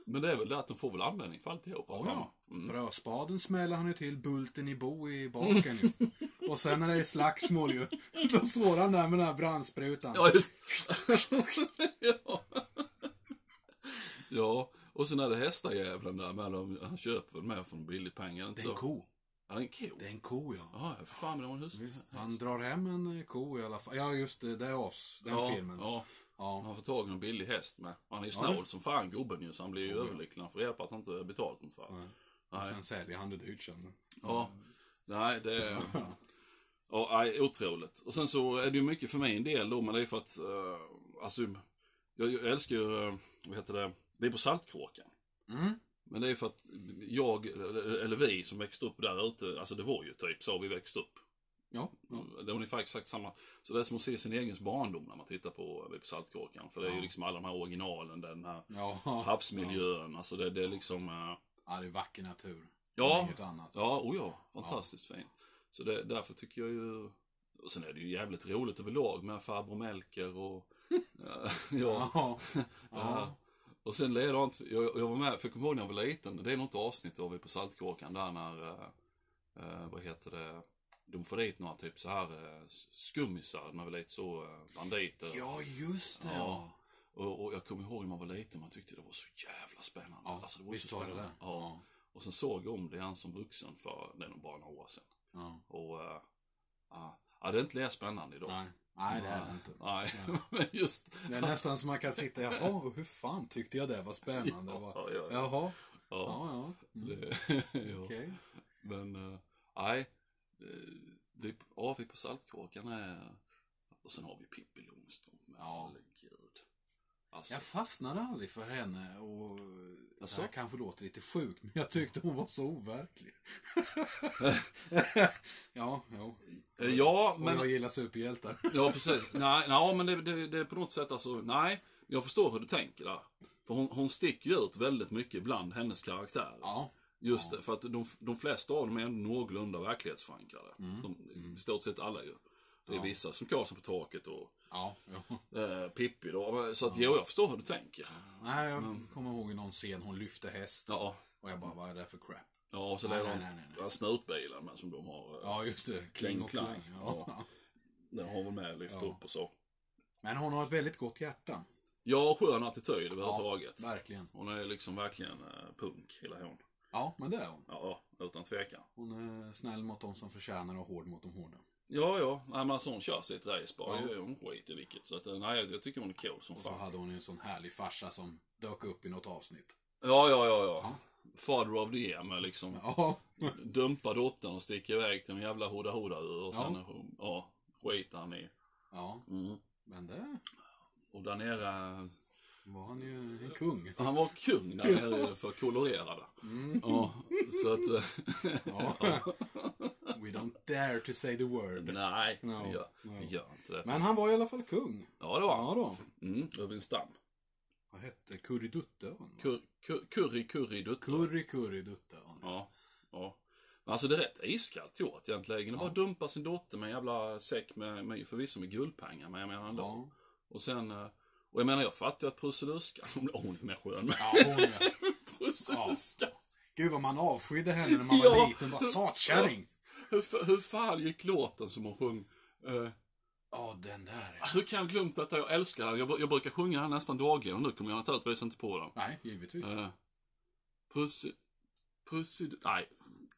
Speaker 1: Men det är väl det att de får väl användning för alltihopa.
Speaker 2: Oh, ja.
Speaker 1: Mm.
Speaker 2: Brödspaden smäller han ju till bulten i bo i
Speaker 1: [LAUGHS]
Speaker 2: baken ju. Och sen när det är slagsmål ju, då står han där med den här brandsprutan.
Speaker 1: Ja, just [LAUGHS] ja. ja, och sen är det hästajävlen där med. De, han köper väl med för en billig peng. eller inte
Speaker 2: det är en
Speaker 1: så?
Speaker 2: ko.
Speaker 1: Ja, det är en ko.
Speaker 2: Det är en ko ja.
Speaker 1: Ja, ja, för fan, men det var en hust.
Speaker 2: Visst, han drar hem en eh, ko i alla fall. Ja just det, det är oss, den
Speaker 1: ja,
Speaker 2: filmen.
Speaker 1: Ja,
Speaker 2: Ja.
Speaker 1: han får tag i en billig häst med. Han är ju snål som fan gubben ju, så han blir ju överlycklig. Han får hjälp att han inte har betalt något för.
Speaker 2: Nej. Och
Speaker 1: Nej.
Speaker 2: sen säljer han det dyrt sen.
Speaker 1: Ja. Nej, det är... Ja, nej, otroligt. Och sen så är det ju mycket för min del då, men det är för att... eh, alltså, jag, jag älskar ju... eh, vad heter det? Vi är på Saltkråkan.
Speaker 2: Mm.
Speaker 1: Men det är för att jag, eller vi som växte upp där ute, alltså det var ju typ så vi växte upp.
Speaker 2: Ja. ja.
Speaker 1: Det är ungefär exakt samma. Så det är som att se sin egen barndom när man tittar på, på Saltkråkan. För det är ju
Speaker 2: Ja.
Speaker 1: liksom alla de här originalen, den här
Speaker 2: Ja.
Speaker 1: havsmiljön. Alltså det, det är liksom... eh,
Speaker 2: ja, det är vacker natur.
Speaker 1: Ja.
Speaker 2: Inget annat.
Speaker 1: Ja, oh ja. Fantastiskt fint. Så det, därför tycker jag ju... Och sen är det ju jävligt roligt överlag med farbror Melker och...
Speaker 2: [LAUGHS]
Speaker 1: ja, ja.
Speaker 2: Ja.
Speaker 1: det här. Och sen leder han... Jag, jag var med, för jag kommer ihåg när jag var liten. Det är något avsnitt av Vi på Saltkråkan där när... eh, Eh, vad heter det? De får dit några typ så här eh, skummisar. De är väl lite så eh, banditer.
Speaker 2: Ja, just det.
Speaker 1: Ja.
Speaker 2: Ja.
Speaker 1: Och, och jag kommer ihåg när man var liten. Man tyckte det var så jävla spännande.
Speaker 2: Ja,
Speaker 1: alltså, det var ju
Speaker 2: Visst
Speaker 1: så
Speaker 2: var det
Speaker 1: spännande.
Speaker 2: det?
Speaker 1: Ja. Och sen såg jag om det han som vuxen för det är nog bara några år sedan.
Speaker 2: ja.
Speaker 1: Och eh, ja, ja, det är inte lika spännande idag.
Speaker 2: Nej. Nej, det är det inte.
Speaker 1: Nej, [LAUGHS] men just...
Speaker 2: Det är nästan som man kan sitta, jaha, hur fan tyckte jag det var spännande? va?
Speaker 1: Ja, ja, ja.
Speaker 2: Jaha,
Speaker 1: ja.
Speaker 2: ja, ja. Mm.
Speaker 1: Det, [LAUGHS] ja.
Speaker 2: Okej.
Speaker 1: Men eh, nej, eh, det, ja, vi på Saltkråkan är... Och sen har vi Pippi Långstrump med.
Speaker 2: Ja.
Speaker 1: Herregud. Alltså,
Speaker 2: Jag fastnade aldrig för henne och
Speaker 1: Jaså?
Speaker 2: det här kanske låter lite sjukt, men jag tyckte hon var så
Speaker 1: [LAUGHS]
Speaker 2: overklig. [LAUGHS] ja, jo.
Speaker 1: eh, ja,
Speaker 2: Och
Speaker 1: men...
Speaker 2: jag gillar superhjältar.
Speaker 1: Ja, precis. Nej, nej men det, det, det är på något sätt alltså, nej. Jag förstår hur du tänker där. För hon, hon sticker ju ut väldigt mycket bland hennes karaktärer.
Speaker 2: [LAUGHS] Ja,
Speaker 1: Just det, för att de, de flesta av dem är ändå någorlunda verklighetsförankrade.
Speaker 2: Mm.
Speaker 1: De, I stort sett alla ju. Det är vissa som Karlsson på taket och
Speaker 2: ja, jo.
Speaker 1: eh, Pippi då. Men- Så att jo, jag förstår hur du tänker.
Speaker 2: Nej, jag kommer ihåg i någon scen hon lyfte häst
Speaker 1: Ja,
Speaker 2: och jag bara, vad är det för crap?
Speaker 1: ja och så
Speaker 2: Nej,
Speaker 1: leder
Speaker 2: nej, nej,
Speaker 1: de den här snutbilen med som de har. Ja.
Speaker 2: Ja, just det. Kling och
Speaker 1: Kling,
Speaker 2: klang.
Speaker 1: ja.
Speaker 2: Ja.
Speaker 1: Den har väl med lyft upp och så.
Speaker 2: Men hon har ett väldigt gott hjärta.
Speaker 1: Ja, skön attityd överhuvudtaget.
Speaker 2: Verkligen.
Speaker 1: Hon är liksom verkligen eh, punk, hela hon.
Speaker 2: Ja, men det är hon.
Speaker 1: Ja, ja, utan tvekan.
Speaker 2: Hon är snäll mot de som förtjänar och hård mot de hårda.
Speaker 1: Ja, ja. Nej, men alltså hon kör sitt race bara.
Speaker 2: Ja.
Speaker 1: Ja. Hon skiter i vilket. Så att, eh, nej, jag- jag tycker hon är cool som
Speaker 2: Och så
Speaker 1: fan.
Speaker 2: hade hon ju en sån härlig farsa som dök upp i något avsnitt.
Speaker 1: Ja, ja, ja, ja. Father of the year med liksom
Speaker 2: [LAUGHS] Ja,
Speaker 1: dumpa dottern och sticka iväg till en jävla hoda hoda och sen ja. Ja, skiter han i.
Speaker 2: ja men det
Speaker 1: Och där nere,
Speaker 2: var han ju en kung. Mm.
Speaker 1: han var kung där nere för kolorerade. Ja, så att, eh,
Speaker 2: [LAUGHS] Ja. We don't dare to say the word.
Speaker 1: eh, [LAUGHS] nej,
Speaker 2: No,
Speaker 1: vi gör,
Speaker 2: no.
Speaker 1: vi gör inte det.
Speaker 2: Men han var i alla fall kung.
Speaker 1: Ja, det var han.
Speaker 2: Ja då.
Speaker 1: Mm, över en stam.
Speaker 2: Vad hette Kurridutteön?
Speaker 1: Kur- kur- Curry, curry, dutt.
Speaker 2: Kurri Kurridutteön.
Speaker 1: Ja, ja. Men alltså det är rätt iskallt gjort egentligen. Det bara dumpa sin dotter med en jävla säck med, med förvisso med guldpengar, men jag menar ändå.
Speaker 2: Ja.
Speaker 1: Och sen, eh, och jag menar jag fattar ju att Prussiluskan, [LAUGHS] hon- hon är mer skön med
Speaker 2: [LAUGHS] Ja, hon är.
Speaker 1: Prussiluskan.
Speaker 2: Gud vad man avskydde henne när man var
Speaker 1: Ja.
Speaker 2: liten. Bara satkärring.
Speaker 1: Hur, fa- hur fan gick låten som hon sjöng? Eh,
Speaker 2: Ja, den där.
Speaker 1: hur kan jag ha glömt att jag älskar den? Jag, br- jag brukar sjunga den nästan dagligen och nu kommer jag
Speaker 2: Mm.
Speaker 1: naturligtvis inte på den.
Speaker 2: Nej, givetvis.
Speaker 1: Eh, Pussi... Pussi... Nej.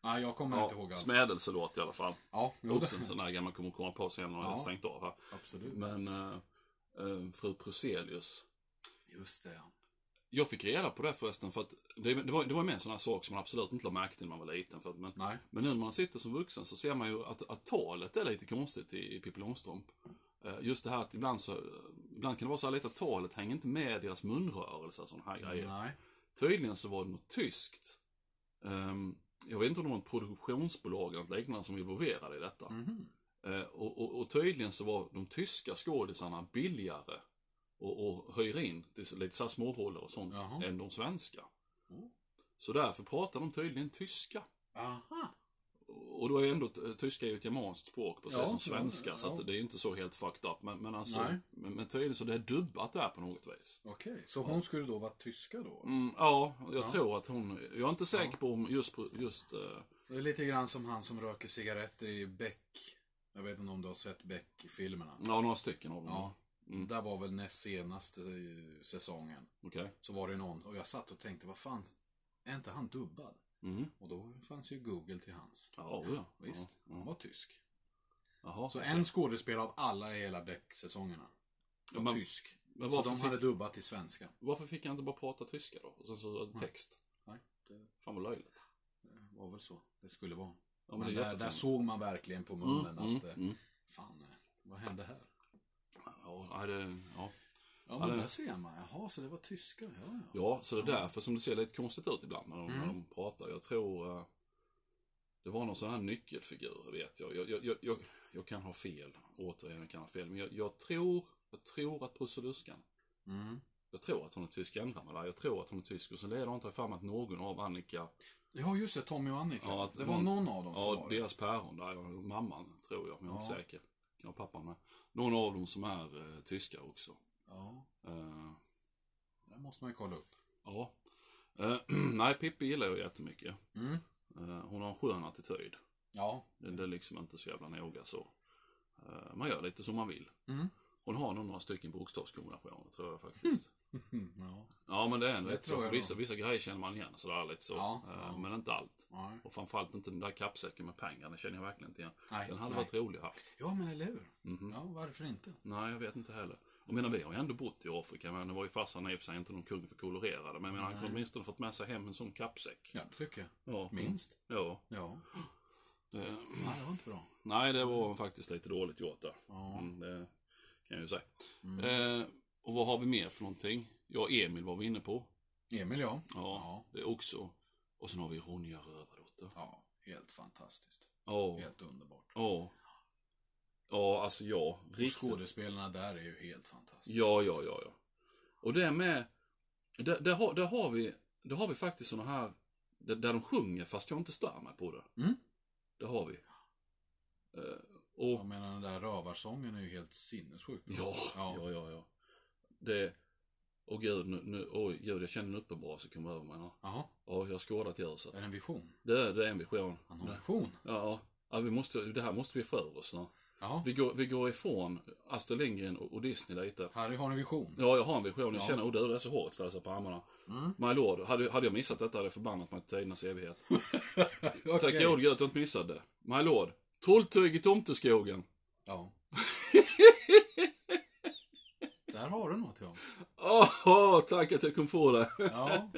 Speaker 2: Nej, jag kommer inte ihåg
Speaker 1: Ja,
Speaker 2: alls.
Speaker 1: smädelselåt i alla fall.
Speaker 2: Ja, jo,
Speaker 1: Oops,
Speaker 2: det,
Speaker 1: en sån där gammal kommer komma på sen när jag
Speaker 2: Ja.
Speaker 1: har stängt av här.
Speaker 2: absolut.
Speaker 1: Men eh, eh, fru Pruselius.
Speaker 2: Just det, ja.
Speaker 1: Jag fick reda på det förresten för att det, det var ju det var med en sån här sak som man absolut inte la märke till när man var liten. För att, men,
Speaker 2: Nej.
Speaker 1: men nu när man sitter som vuxen så ser man ju att, att talet är lite konstigt i, i Pippi Långstrump. Eh, Just det här att ibland så, ibland kan det vara så här lite att talet hänger inte med i deras munrörelser och sådana här grejer.
Speaker 2: Nej.
Speaker 1: Tydligen så var det något tyskt. ehm, jag vet inte om det var ett produktionsbolag eller något liknande som var involverade i detta.
Speaker 2: Mhm.
Speaker 1: Eh, och, och, och tydligen så var de tyska skådisarna billigare och, och höjer in till så- lite så här småroller och sånt
Speaker 2: Jaha.
Speaker 1: än de svenska.
Speaker 2: Oh.
Speaker 1: Så därför pratar de tydligen tyska.
Speaker 2: Aha.
Speaker 1: Och då är ju ändå t- tyska är ju ett germanskt språk precis
Speaker 2: Ja,
Speaker 1: som
Speaker 2: ja,
Speaker 1: svenska så
Speaker 2: ja.
Speaker 1: att det är ju inte så helt fucked up. Men, men alltså,
Speaker 2: Nej.
Speaker 1: men, men tydligen så det är dubbat där på något vis.
Speaker 2: Okej, så hon skulle då vara tyska då?
Speaker 1: Mm, ja, jag
Speaker 2: Ja.
Speaker 1: tror att hon... Jag är inte säker på om just... just eh,
Speaker 2: Det är lite grann som han som röker cigaretter i Beck. Jag vet inte om du har sett Beck-filmerna?
Speaker 1: ja, några stycken av dem.
Speaker 2: Ja.
Speaker 1: Mm.
Speaker 2: Där var väl näst senaste eh, säsongen.
Speaker 1: Okej.
Speaker 2: Så var det någon, och jag satt och tänkte, vad fan, är inte han dubbad?
Speaker 1: Mm.
Speaker 2: Och då fanns ju Google till hans.
Speaker 1: Ja, ja.
Speaker 2: Visst,
Speaker 1: Ja,
Speaker 2: han
Speaker 1: ja.
Speaker 2: var tysk.
Speaker 1: Jaha.
Speaker 2: Så en skådespelare av alla i hela Beck-säsongerna var
Speaker 1: Men-
Speaker 2: tysk.
Speaker 1: men
Speaker 2: Så
Speaker 1: varför,
Speaker 2: de
Speaker 1: fick,
Speaker 2: hade dubbat till svenska.
Speaker 1: varför fick jag inte bara prata tyska då? Och sen så eh, text.
Speaker 2: Nej, det
Speaker 1: Fan vad löjligt.
Speaker 2: var väl så det skulle vara.
Speaker 1: Ja,
Speaker 2: men
Speaker 1: är
Speaker 2: där, där
Speaker 1: jättefint.
Speaker 2: såg man verkligen på munnen
Speaker 1: Mm,
Speaker 2: att, eh,
Speaker 1: mm.
Speaker 2: fan, eh, vad hände här?
Speaker 1: Ja, nej, det, ja.
Speaker 2: Ja, men där ser man. Jaha, så det var tyskar. Ja, ja.
Speaker 1: ja, så det är därför som det ser lite konstigt ut ibland när de,
Speaker 2: Mm.
Speaker 1: när de pratar. Jag tror... eh, det var någon sån här nyckelfigur, vet jag. Jag, jag, jag, jag, jag kan ha fel. Återigen, jag kan ha fel. Men jag, jag tror... Jag tror att Brusseluskan
Speaker 2: Mm.
Speaker 1: Jag tror att hon är tysk, jag ändrar mig där. Jag tror att hon är tysk och sen leder inte fram att någon av Annika,
Speaker 2: Ja, just det. Tommy och Annika.
Speaker 1: Ja, att
Speaker 2: det var
Speaker 1: någon-
Speaker 2: någon av dem som
Speaker 1: ja
Speaker 2: var det.
Speaker 1: deras päron där, och mamman tror jag, men jag är
Speaker 2: Ja.
Speaker 1: inte säker. Kan ha pappan med. Någon av dem som är eh, tyska också.
Speaker 2: Ja,
Speaker 1: Eh,
Speaker 2: det måste man ju kolla upp.
Speaker 1: ja. Eh, [CLEARS THROAT] nej, Pippi gillar jag jättemycket.
Speaker 2: Mm.
Speaker 1: Eh, hon har en skön attityd.
Speaker 2: Ja.
Speaker 1: Det, det är liksom inte så jävla noga så. Eh, man gör lite som man vill.
Speaker 2: Mm.
Speaker 1: Hon har nog några stycken bokstavskombinationer tror jag faktiskt.
Speaker 2: Mm, ja.
Speaker 1: Ja men det är en
Speaker 2: Det
Speaker 1: rätt så,
Speaker 2: tror jag
Speaker 1: för
Speaker 2: nog.
Speaker 1: vissa, vissa grejer känner man igen sådär lite så.
Speaker 2: Ja,
Speaker 1: Eh,
Speaker 2: ja.
Speaker 1: Men inte allt.
Speaker 2: Nej.
Speaker 1: Och framförallt inte den där kappsäcken med pengar, den känner jag verkligen inte igen.
Speaker 2: Nej,
Speaker 1: Den hade
Speaker 2: nej.
Speaker 1: varit rolig haft.
Speaker 2: Ja, men eller hur?
Speaker 1: Mhm.
Speaker 2: Ja, varför inte?
Speaker 1: Nej, jag vet inte heller. Jag menar, vi har ju ändå bott i Afrika, men det var ju farsan i och för sig inte någon kung för kolorerade. Men jag menar, han kunde åtminstone fått med sig hem en sån kappsäck.
Speaker 2: Ja, det tycker jag.
Speaker 1: Ja.
Speaker 2: Minst.
Speaker 1: Ja.
Speaker 2: Ja.
Speaker 1: Det,
Speaker 2: Nej, det var inte bra.
Speaker 1: Eh, nej, det var faktiskt lite dåligt gjort där.
Speaker 2: Ja.
Speaker 1: Mm,
Speaker 2: Mm.
Speaker 1: det kan jag ju säga. Eh, och vad har vi mer för någonting? Ja, Emil var vi inne på.
Speaker 2: Emil, ja.
Speaker 1: Ja,
Speaker 2: Ja.
Speaker 1: det också. Och sen har vi Ronja Rövardotter.
Speaker 2: Ja, helt fantastiskt.
Speaker 1: Ja.
Speaker 2: Helt underbart.
Speaker 1: Ja. Ja, alltså ja.
Speaker 2: Och
Speaker 1: Riktigt
Speaker 2: skådespelarna där är ju helt fantastiska.
Speaker 1: Ja, ja, ja, ja. Och det med, där, där, har, där, har, vi, där har vi faktiskt såna här, där, där de sjunger fast jag inte stör mig på det.
Speaker 2: Mm.
Speaker 1: Det har vi. Eh, och,
Speaker 2: Jag menar, den där rövarsången är ju helt sinnessjuk.
Speaker 1: ja, ja, ja, ja. Det, och gud, nu, nu, oj, gud, jag känner en uppenbarelse komma över mig här.
Speaker 2: Jaha,
Speaker 1: Ja, jag har skådat ljuset.
Speaker 2: är det en vision?
Speaker 1: Det, är- det är en vision.
Speaker 2: Han har en vision?
Speaker 1: Ja, ja. ja vi måste, det här måste vi få ur oss nu.
Speaker 2: Ja.
Speaker 1: Vi går, vi går ifrån Astrid Lindgren och, och Disney lite.
Speaker 2: Harry har en vision. Mm.
Speaker 1: Ja, jag har en vision. Jag känner, oh du, det är så hårt att ställa sig på armarna. My lord, hade, hade jag missat detta hade jag förbannat mig till tidernas evighet. Tack
Speaker 2: Okej.
Speaker 1: gode gud att jag inte missade det. My lord, trolltyg i tomteskogen.
Speaker 2: Ja. [LAUGHS] Där har du något, ja.
Speaker 1: Åh, tack att jag kom på det.
Speaker 2: Ja.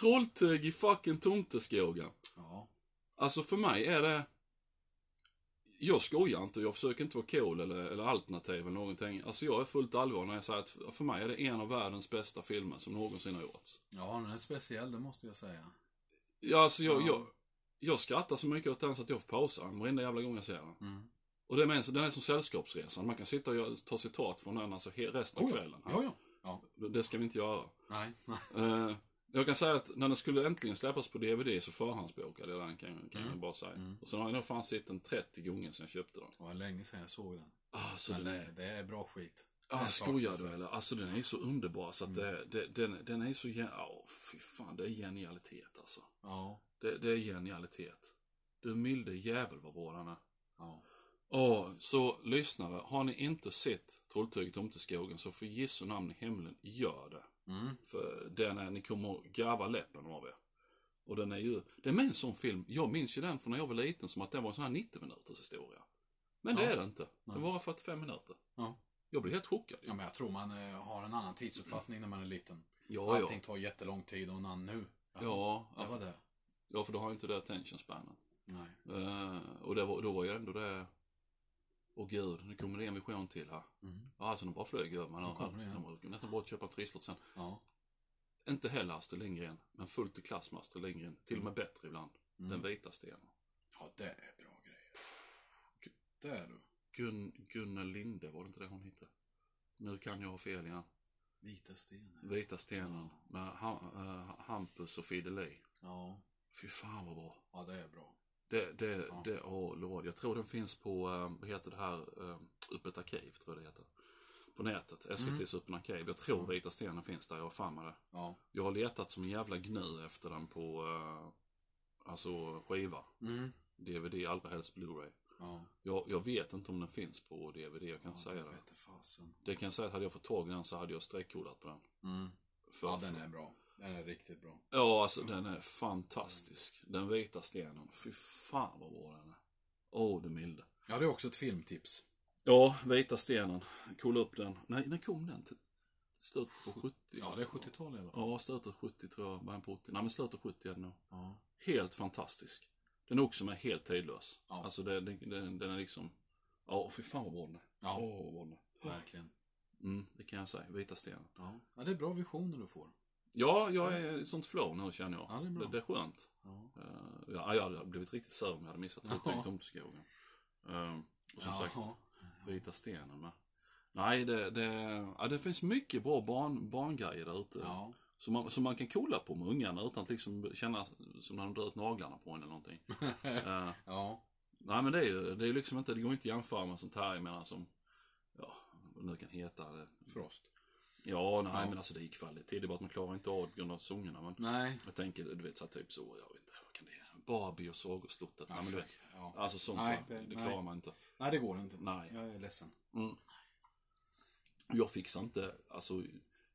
Speaker 1: trolltyg i fucking tomteskogen.
Speaker 2: ja.
Speaker 1: Alltså för mig är det... Jag skojar inte, jag försöker inte vara cool eller, eller alternativ eller någonting. Alltså jag är fullt allvar när jag säger att för mig är det en av världens bästa filmer som någonsin har gjorts.
Speaker 2: Ja, den är speciell, det måste jag säga.
Speaker 1: Ja, alltså jag,
Speaker 2: Ja.
Speaker 1: jag, jag skrattar så mycket åt den så att jag får pausa den varenda jävla gång jag ser den.
Speaker 2: Mm.
Speaker 1: Och det är med, den är som Sällskapsresan. Man kan sitta och göra- ta citat från den alltså he- resten av
Speaker 2: Oh, ja.
Speaker 1: kvällen.
Speaker 2: Ja, ja. ja.
Speaker 1: Det- Det ska vi inte göra.
Speaker 2: Nej, nej.
Speaker 1: Eh, jag kan säga att när den skulle äntligen släppas på DVD så förhandsbokade jag den kan, kan
Speaker 2: Mm.
Speaker 1: jag bara säga. Och sen har jag nog fan sett den 30 gånger sedan jag köpte den.
Speaker 2: Det var länge sedan jag såg den.
Speaker 1: Alltså den är...
Speaker 2: Det är bra skit.
Speaker 1: Ah,
Speaker 2: Den
Speaker 1: skojar
Speaker 2: saknas. Mm.
Speaker 1: du eller? Alltså den är så underbar så att det, det, den, den är så... gen- Ja, fy fan. Det är genialitet alltså.
Speaker 2: Ja.
Speaker 1: Det, det är genialitet. Du milde jävel vad bra den är.
Speaker 2: Ja.
Speaker 1: Ja, så lyssnare, har ni inte sett Trolltyget Tomteskogen så för Jesu namn i himlen, gör det.
Speaker 2: Mm.
Speaker 1: För den är, ni kommer att garva läppen av er. Och den är ju, det är med en sån film, jag minns ju den från när jag var liten som att den var en sån här 90 minuters historia. Men det
Speaker 2: Ja.
Speaker 1: är det inte. Det
Speaker 2: Nej.
Speaker 1: var 45 minuter.
Speaker 2: Ja.
Speaker 1: Jag blev helt chockad ju.
Speaker 2: Ja, men jag tror man eh, har en annan tidsuppfattning när man är liten.
Speaker 1: Ja, ja.
Speaker 2: Allting tar jättelång tid och någon nu.
Speaker 1: Ja,
Speaker 2: Det var
Speaker 1: ja,
Speaker 2: det.
Speaker 1: ja för du har ju inte det attention spanet.
Speaker 2: Nej.
Speaker 1: Eh, och det var, då var ju ändå det... Åh gud, nu kommer det en vision till här.
Speaker 2: Mm.
Speaker 1: Ja, alltså de bara flög över. Man
Speaker 2: Nu kommer det igen.
Speaker 1: har de nästan bara att köpa en trisslott sen.
Speaker 2: Ja.
Speaker 1: Inte heller Astrid Lindgren, men fullt i klass med Astrid Lindgren. Till och med bättre ibland.
Speaker 2: Mm.
Speaker 1: Den vita stenen.
Speaker 2: Ja, det är bra grejer. Det är du.
Speaker 1: Gun, Gunnel Linde, var det inte det hon hette? Nu kan jag ha fel igen.
Speaker 2: Vita stenar.
Speaker 1: Vita stenen med ha, eh, Hampus och Fideli.
Speaker 2: Ja.
Speaker 1: Fy fan vad bra.
Speaker 2: Ja, det är bra.
Speaker 1: Det, det,
Speaker 2: Ja.
Speaker 1: det, åh lord. Jag tror den finns på, eh, vad heter det här, eh, Öppet Arkiv tror jag det heter. På nätet, SVT's Öppet Arkiv. Jag tror
Speaker 2: Mm.
Speaker 1: Vita Stenen finns där, jag har fan med det.
Speaker 2: Ja.
Speaker 1: Jag har letat som en jävla gnu efter den på, eh, alltså skiva.
Speaker 2: Mm.
Speaker 1: DVD, allra helst Blu-ray.
Speaker 2: Ja.
Speaker 1: Jag, jag vet inte om den finns på DVD, jag kan inte säga det.
Speaker 2: vete fasen.
Speaker 1: Det kan jag säga att hade jag fått tag i den så hade jag streckkodat på den.
Speaker 2: Mm.
Speaker 1: För,
Speaker 2: Ja, den är bra. Den är riktigt bra.
Speaker 1: Ja, alltså den är fantastisk.
Speaker 2: Mm.
Speaker 1: Den vita stenen, fy fan vad bra den är. Åh, du milde.
Speaker 2: Ja, det är också ett filmtips.
Speaker 1: Ja, vita stenen. Kolla upp den. Nej, när kom den? Till- Slutet på 70?
Speaker 2: Ja, det är 70-tal i alla fall.
Speaker 1: Ja, slutet av 70 tror jag, början på 80. Nej, men slutet av 70 är det nog.
Speaker 2: Ja.
Speaker 1: Helt fantastisk. Den är också med helt tidlös.
Speaker 2: Ja.
Speaker 1: Alltså det, den, den, den är liksom, ja fy fan vad bra den är.
Speaker 2: Ja.
Speaker 1: Åh, vad bra den är.
Speaker 2: Verkligen.
Speaker 1: Mm, det kan jag säga. Vita stenen.
Speaker 2: Ja. ja, det är bra visioner du får.
Speaker 1: Ja, jag är i sånt flow nu känner jag.
Speaker 2: Ja, det är bra.
Speaker 1: Det, är skönt.
Speaker 2: Ja.
Speaker 1: Eh, ja, jag hade blivit riktigt sur om jag hade missat
Speaker 2: Ja.
Speaker 1: Hotell Tomteskogen. Uh, och som
Speaker 2: ja.
Speaker 1: sagt,
Speaker 2: Ja.
Speaker 1: Vita stenen med. Nej, det, det, ja, det finns mycket bra barn, barngrejer där ute.
Speaker 2: Ja.
Speaker 1: Som, man, som man kan kolla på med ungarna utan att liksom känna som när de drar ut naglarna på en eller
Speaker 2: [LAUGHS]
Speaker 1: någonting. Eh,
Speaker 2: ja.
Speaker 1: nej men det är ju det är ju liksom inte, det går inte att jämföra med sånt här, jag menar som, ja, vad det nu kan heta det.
Speaker 2: Frost.
Speaker 1: Ja, nej
Speaker 2: Ja.
Speaker 1: men alltså det är kvalitet, det är bara att man klarar inte av det på grund av sångerna. Men
Speaker 2: Nej.
Speaker 1: jag tänker, du vet så här, typ så, jag vet inte, vad kan det Barbie och Sagoslottet. nej men du vet,
Speaker 2: fuck. ja.
Speaker 1: alltså sånt
Speaker 2: Nej,
Speaker 1: där,
Speaker 2: det-
Speaker 1: det
Speaker 2: nej.
Speaker 1: klarar man inte.
Speaker 2: Nej, det går inte.
Speaker 1: Nej.
Speaker 2: Jag är ledsen.
Speaker 1: Jag fixar inte, alltså,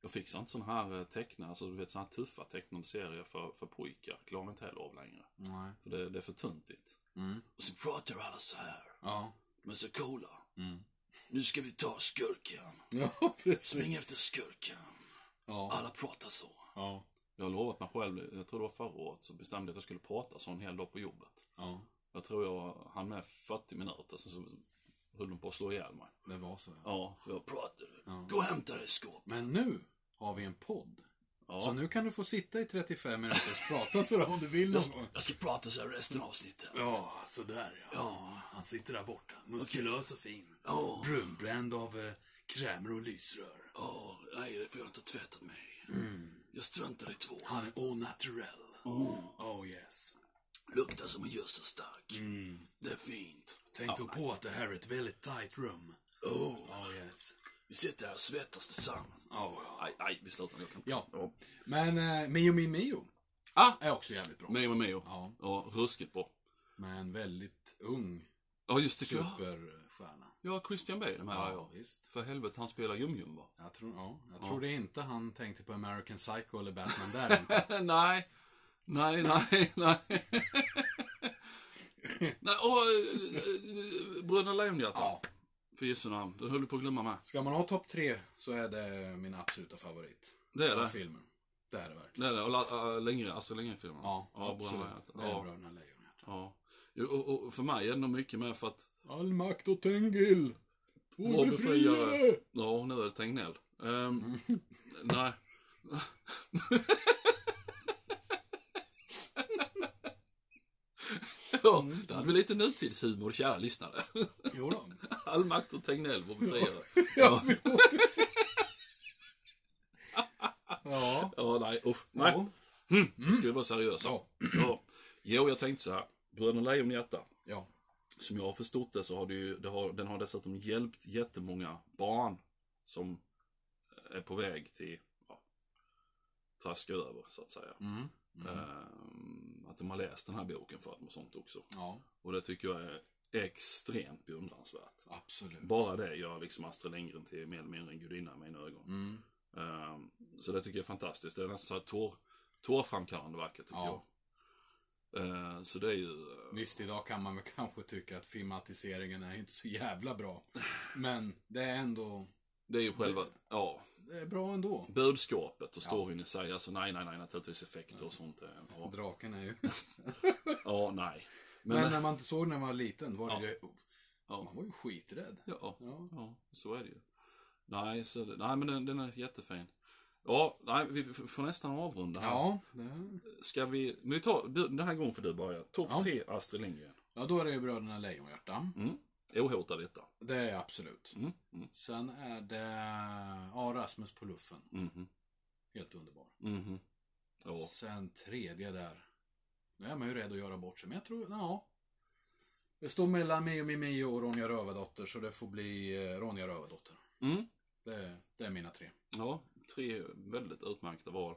Speaker 1: jag fixar inte sån här eh, teckna, alltså du vet sån här tuffa tecknade serier för, för pojkar. Klarar jag inte heller av längre.
Speaker 2: Nej.
Speaker 1: För det, det är för tuntigt.
Speaker 2: Mm.
Speaker 1: Och så pratar alla så här.
Speaker 2: Ja. [LAUGHS]
Speaker 1: De är så coola.
Speaker 2: Mm.
Speaker 1: Nu ska vi ta skurken.
Speaker 2: Ja, precis.
Speaker 1: Spring efter skurken.
Speaker 2: Ja.
Speaker 1: Alla pratar så.
Speaker 2: Ja.
Speaker 1: Jag har lovat mig själv, jag tror det var förra året, så bestämde jag att jag skulle prata så en hel dag på jobbet.
Speaker 2: Ja.
Speaker 1: Jag tror jag hann med 40 minuter, sen så höll de på att slå ihjäl mig.
Speaker 2: Det var så. Ja.
Speaker 1: Ja, för jag pratade.
Speaker 2: Ja.
Speaker 1: Gå och hämta dig skåp.
Speaker 2: Men nu har vi en podd. Så
Speaker 1: Ja.
Speaker 2: nu kan du få sitta i 35 minuter och prata sådär om du vill
Speaker 1: Jag,
Speaker 2: någon
Speaker 1: ska,
Speaker 2: gång.
Speaker 1: jag ska prata så här resten av avsnittet.
Speaker 2: Ja, sådär ja.
Speaker 1: Ja.
Speaker 2: Han sitter där borta. Muskulös och fin.
Speaker 1: Ja.
Speaker 2: Brunbränd av eh, krämer och lysrör.
Speaker 1: Ja, nej, det är för jag har inte tvättat mig. Jag struntar i två.
Speaker 2: Han är all naturell. Oh, yes.
Speaker 1: Luktar som en gödselstank. Det är fint.
Speaker 2: Tänk då på att det här är ett väldigt tight rum.
Speaker 1: Oh.
Speaker 2: Oh yes.
Speaker 1: Vi sitter här och svettas tillsammans.
Speaker 2: Oh, ja.
Speaker 1: Nej, nej, vi slutar nu. Jag kan...
Speaker 2: Ja.
Speaker 1: ja.
Speaker 2: Men eh, Mio Min Mio
Speaker 1: Ah!
Speaker 2: är också jävligt bra.
Speaker 1: Mio och Mio.
Speaker 2: Ja,
Speaker 1: Ja, ruskigt bra.
Speaker 2: men väldigt ung
Speaker 1: Ja, just det. Ja,
Speaker 2: superstjärna.
Speaker 1: ja Christian Bale med ja, ja.
Speaker 2: visst.
Speaker 1: För helvete, han spelar Jum-Jum va?
Speaker 2: Jag tror, ja, jag tror det inte han tänkte på American Psycho eller Batman där [LAUGHS]
Speaker 1: [LAUGHS]
Speaker 2: inte.
Speaker 1: nej. Nej, nej, nej. [LAUGHS] nej, och eh, eh, Bröderna Lejonhjärta.
Speaker 2: Ja.
Speaker 1: För Jesu namn. Den höll du på att glömma med.
Speaker 2: Ska man ha topp tre så är det min absoluta favorit.
Speaker 1: Det är
Speaker 2: Av
Speaker 1: det.
Speaker 2: filmer. Det är det verkligen.
Speaker 1: Det är det. Och la- äh, längre, alltså längre filmen.
Speaker 2: Ja,
Speaker 1: Bröderna
Speaker 2: absolut.
Speaker 1: Lejonhjärta.
Speaker 2: Det är
Speaker 1: Ja,
Speaker 2: Bröderna Lejonhjärta.
Speaker 1: ja. Jo, Och, och för mig är det nog mycket med för att
Speaker 2: All makt åt Tengil!
Speaker 1: Vår
Speaker 2: Vår
Speaker 1: befriare.
Speaker 2: befriare!
Speaker 1: Ja, nu är det Tegnell.
Speaker 2: [LAUGHS]
Speaker 1: Ehm, nej. [LAUGHS] ja,
Speaker 2: Mm.
Speaker 1: där hade vi lite nutidshumor, kära lyssnare. [LAUGHS]
Speaker 2: Jo då. [LAUGHS]
Speaker 1: All makt åt Tegnell, vår befriare.
Speaker 2: Ja. ja.
Speaker 1: Ja, nej, usch. Nej,
Speaker 2: Jo.
Speaker 1: nu ska vi vara seriösa.
Speaker 2: Ja.
Speaker 1: Ja. Jo, jag tänkte så här. Bröderna Lejonhjärta.
Speaker 2: Ja.
Speaker 1: Som jag har förstått det så har det ju, det har, den har dessutom hjälpt jättemånga barn som är på väg till, ja, traska över så att säga.
Speaker 2: Mm. Mm.
Speaker 1: Ehm, att de har läst den här boken för dem och sånt också.
Speaker 2: Ja,
Speaker 1: Och det tycker jag är extremt beundransvärt.
Speaker 2: absolut.
Speaker 1: Bara det gör liksom Astrid Lindgren till mer eller mindre en gudinna i mina ögon.
Speaker 2: Mm.
Speaker 1: Ehm, så det tycker jag är fantastiskt. Det är nästan så här tår, tårframkallande vackert tycker
Speaker 2: Ja.
Speaker 1: Eh, så det är ju... eh,
Speaker 2: Visst, idag kan man väl [LAUGHS] kanske tycka att filmatiseringen är inte så jävla bra. Men det är ändå...
Speaker 1: Det är ju själva... Ja.
Speaker 2: Det är bra ändå.
Speaker 1: budskapet och storyn i sig. Alltså nej, nej, nej, naturligtvis effekter och sånt. eh, Ja,
Speaker 2: Draken är ju...
Speaker 1: ja nej. Men,
Speaker 2: Men när man inte såg när man var liten var det ju...
Speaker 1: Ja.
Speaker 2: Man var ju skiträdd.
Speaker 1: [LAUGHS] ja,
Speaker 2: Ja.
Speaker 1: ja, så är det ju. Nej, så, det- nej men den, den är jättefin. Ja, nej, vi f- får nästan avrunda här.
Speaker 2: Ja, det...
Speaker 1: Ska vi, men vi tar, du, den här gången får du börja. Topp
Speaker 2: Ja.
Speaker 1: tre Astrid Lindgren.
Speaker 2: ja då är det ju Bröderna Lejonhjärta.
Speaker 1: Ohotad detta.
Speaker 2: Det är jag absolut.
Speaker 1: Mm. Mm.
Speaker 2: Sen är det... Ja, Rasmus på luffen.
Speaker 1: Mhm.
Speaker 2: Helt underbar.
Speaker 1: Mhm. Ja.
Speaker 2: Sen tredje där. Nu är man ju rädd att göra bort sig, men jag tror, ja. Det står mellan Mio Mimio och Ronja Rövardotter, så det får bli eh, Ronja Rövardotter.
Speaker 1: Mm.
Speaker 2: Det, det är mina tre.
Speaker 1: ja, tre väldigt utmärkta val.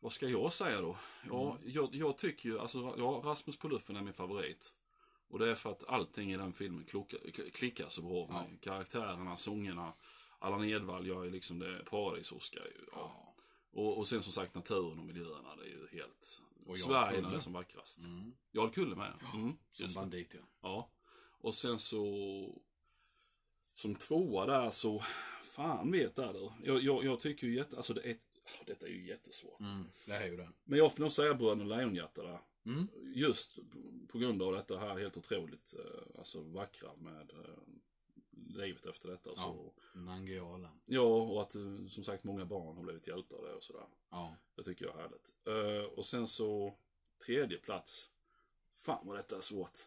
Speaker 1: Vad ska jag säga då? Ja,
Speaker 2: Mm.
Speaker 1: jag, jag tycker ju, alltså ja, Rasmus på luffen är min favorit. Och det är för att allting i den filmen klocka, k- klickar så bra. Med Karaktärerna, sångerna. Allan Edwall gör ju liksom det, Paradis-Oscar är ju. Ja.
Speaker 2: Ja.
Speaker 1: Och, och sen som sagt naturen och miljöerna, det är ju helt...
Speaker 2: Och
Speaker 1: Sverige när det är
Speaker 2: Jarlkulle.
Speaker 1: som vackrast.
Speaker 2: Mm.
Speaker 1: Jarlkulle med. Mm,
Speaker 2: Som
Speaker 1: just det.
Speaker 2: bandit, ja.
Speaker 1: Ja. Och sen så... Som tvåa där så... Fan vet jag du. Jag, jag, jag tycker ju jätte... Alltså det är... ah, Detta är ju jättesvårt.
Speaker 2: Mm. Det här är ju det.
Speaker 1: Men jag får nog säga Bröderna Lejonhjärta där.
Speaker 2: Mm.
Speaker 1: Just p- på grund av detta här helt otroligt eh, alltså vackra med eh, livet efter detta. Och så.
Speaker 2: Nangialen.
Speaker 1: Ja, och att eh, som sagt många barn har blivit hjälpta av det och sådär.
Speaker 2: Ja.
Speaker 1: Det tycker jag är härligt. Eh, och sen så tredje plats. Fan vad detta är svårt.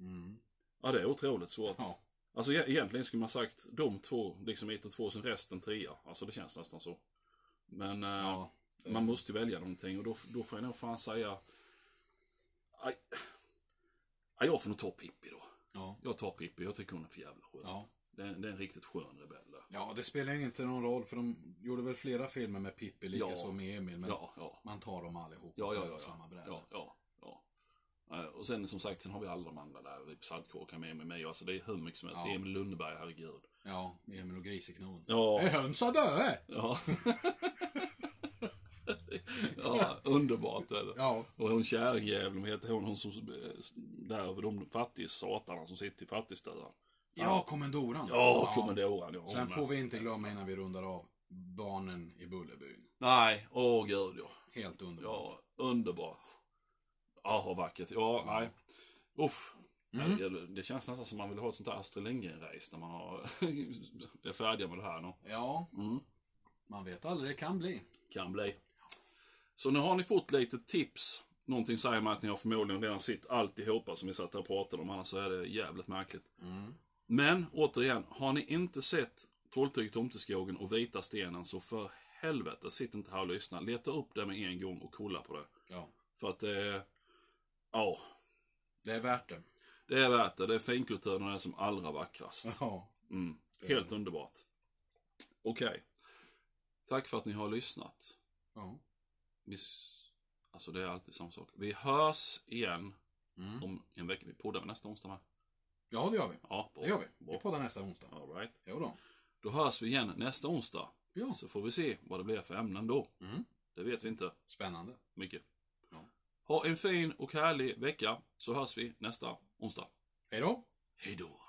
Speaker 2: Mm.
Speaker 1: Ja, det är otroligt svårt.
Speaker 2: Ja.
Speaker 1: Alltså e- egentligen skulle man sagt de två, liksom ett och två, sen resten trea. Alltså det känns nästan så. Men eh,
Speaker 2: ja.
Speaker 1: man måste ju välja någonting och då, då får jag nog fan säga... Aj. Aj, jag får nog ta Pippi då.
Speaker 2: Ja.
Speaker 1: Jag tar Pippi, jag tycker hon är för jävla skön.
Speaker 2: Ja.
Speaker 1: Det, är, det är en riktigt skön rebell där.
Speaker 2: Ja, det spelar ju inte någon roll, för de gjorde väl flera filmer med Pippi,
Speaker 1: Ja.
Speaker 2: likaså med Emil, men
Speaker 1: Ja, ja.
Speaker 2: man tar dem allihop
Speaker 1: Ja, ja,
Speaker 2: på
Speaker 1: ja.
Speaker 2: samma
Speaker 1: Ja,
Speaker 2: bräda.
Speaker 1: ja, ja. ja. Eh, Och sen som sagt, sen har vi alla de andra där. Rip Saltkråkan med mig. Alltså det är hur mycket som helst.
Speaker 2: Ja.
Speaker 1: Emil Lundberg, herregud.
Speaker 2: Ja, Emil och Griseknon.
Speaker 1: Ja.
Speaker 2: Är hönsa döda?
Speaker 1: Ja. ja, underbart är det.
Speaker 2: Ja.
Speaker 1: Och hon kärringjäveln, vad heter hon, hon som eh, där över de fattiga satarna som sitter i fattigstugan.
Speaker 2: Ja, kommendoran.
Speaker 1: Ja, kommendoran. Ja, hon
Speaker 2: Sen
Speaker 1: med.
Speaker 2: får vi inte glömma innan vi rundar av barnen i Bullerbyn.
Speaker 1: Nej, åh gud ja.
Speaker 2: Helt underbart.
Speaker 1: Ja, underbart. Ja, vad vackert. Ja, nej. Usch.
Speaker 2: Mm.
Speaker 1: Herregud, Det känns nästan som man vill ha ett sånt här Astrid Lindgren-race när man har, [LAUGHS] är färdiga med det här nu.
Speaker 2: Ja.
Speaker 1: Mm.
Speaker 2: Man vet aldrig, det kan bli.
Speaker 1: kan bli. Så nu har ni fått lite tips. Någonting säger mig att ni har förmodligen redan sett alltihopa som vi satt här och pratade om, annars så är det jävligt märkligt. Men återigen, har ni inte sett Trolltyget, Tomteskogen och Vita Stenen så för helvete, sitt inte här och lyssna. Leta upp det med en gång och kolla på det.
Speaker 2: Ja.
Speaker 1: För att det är... Ja,
Speaker 2: Det är värt det.
Speaker 1: det är värt det. Det är finkultur när det är som allra vackrast.
Speaker 2: Ja.
Speaker 1: Mm. Helt underbart. Okej. Tack för att ni har lyssnat.
Speaker 2: ja.
Speaker 1: Vi, s- alltså det är alltid samma sak. Vi hörs igen
Speaker 2: Mm.
Speaker 1: om en vecka. Vi poddar väl nästa onsdag va?
Speaker 2: Ja, det gör vi.
Speaker 1: Ja, bra.
Speaker 2: Det gör vi. Vi
Speaker 1: Bra.
Speaker 2: poddar nästa onsdag.
Speaker 1: All right.
Speaker 2: Jo då.
Speaker 1: Då hörs vi igen nästa onsdag.
Speaker 2: Ja.
Speaker 1: Så får vi se vad det blir för ämnen då.
Speaker 2: Mm.
Speaker 1: Det vet vi inte
Speaker 2: Spännande.
Speaker 1: mycket.
Speaker 2: Ja.
Speaker 1: Ha en fin och härlig vecka så hörs vi nästa onsdag.
Speaker 2: Hej då.
Speaker 1: Hej då.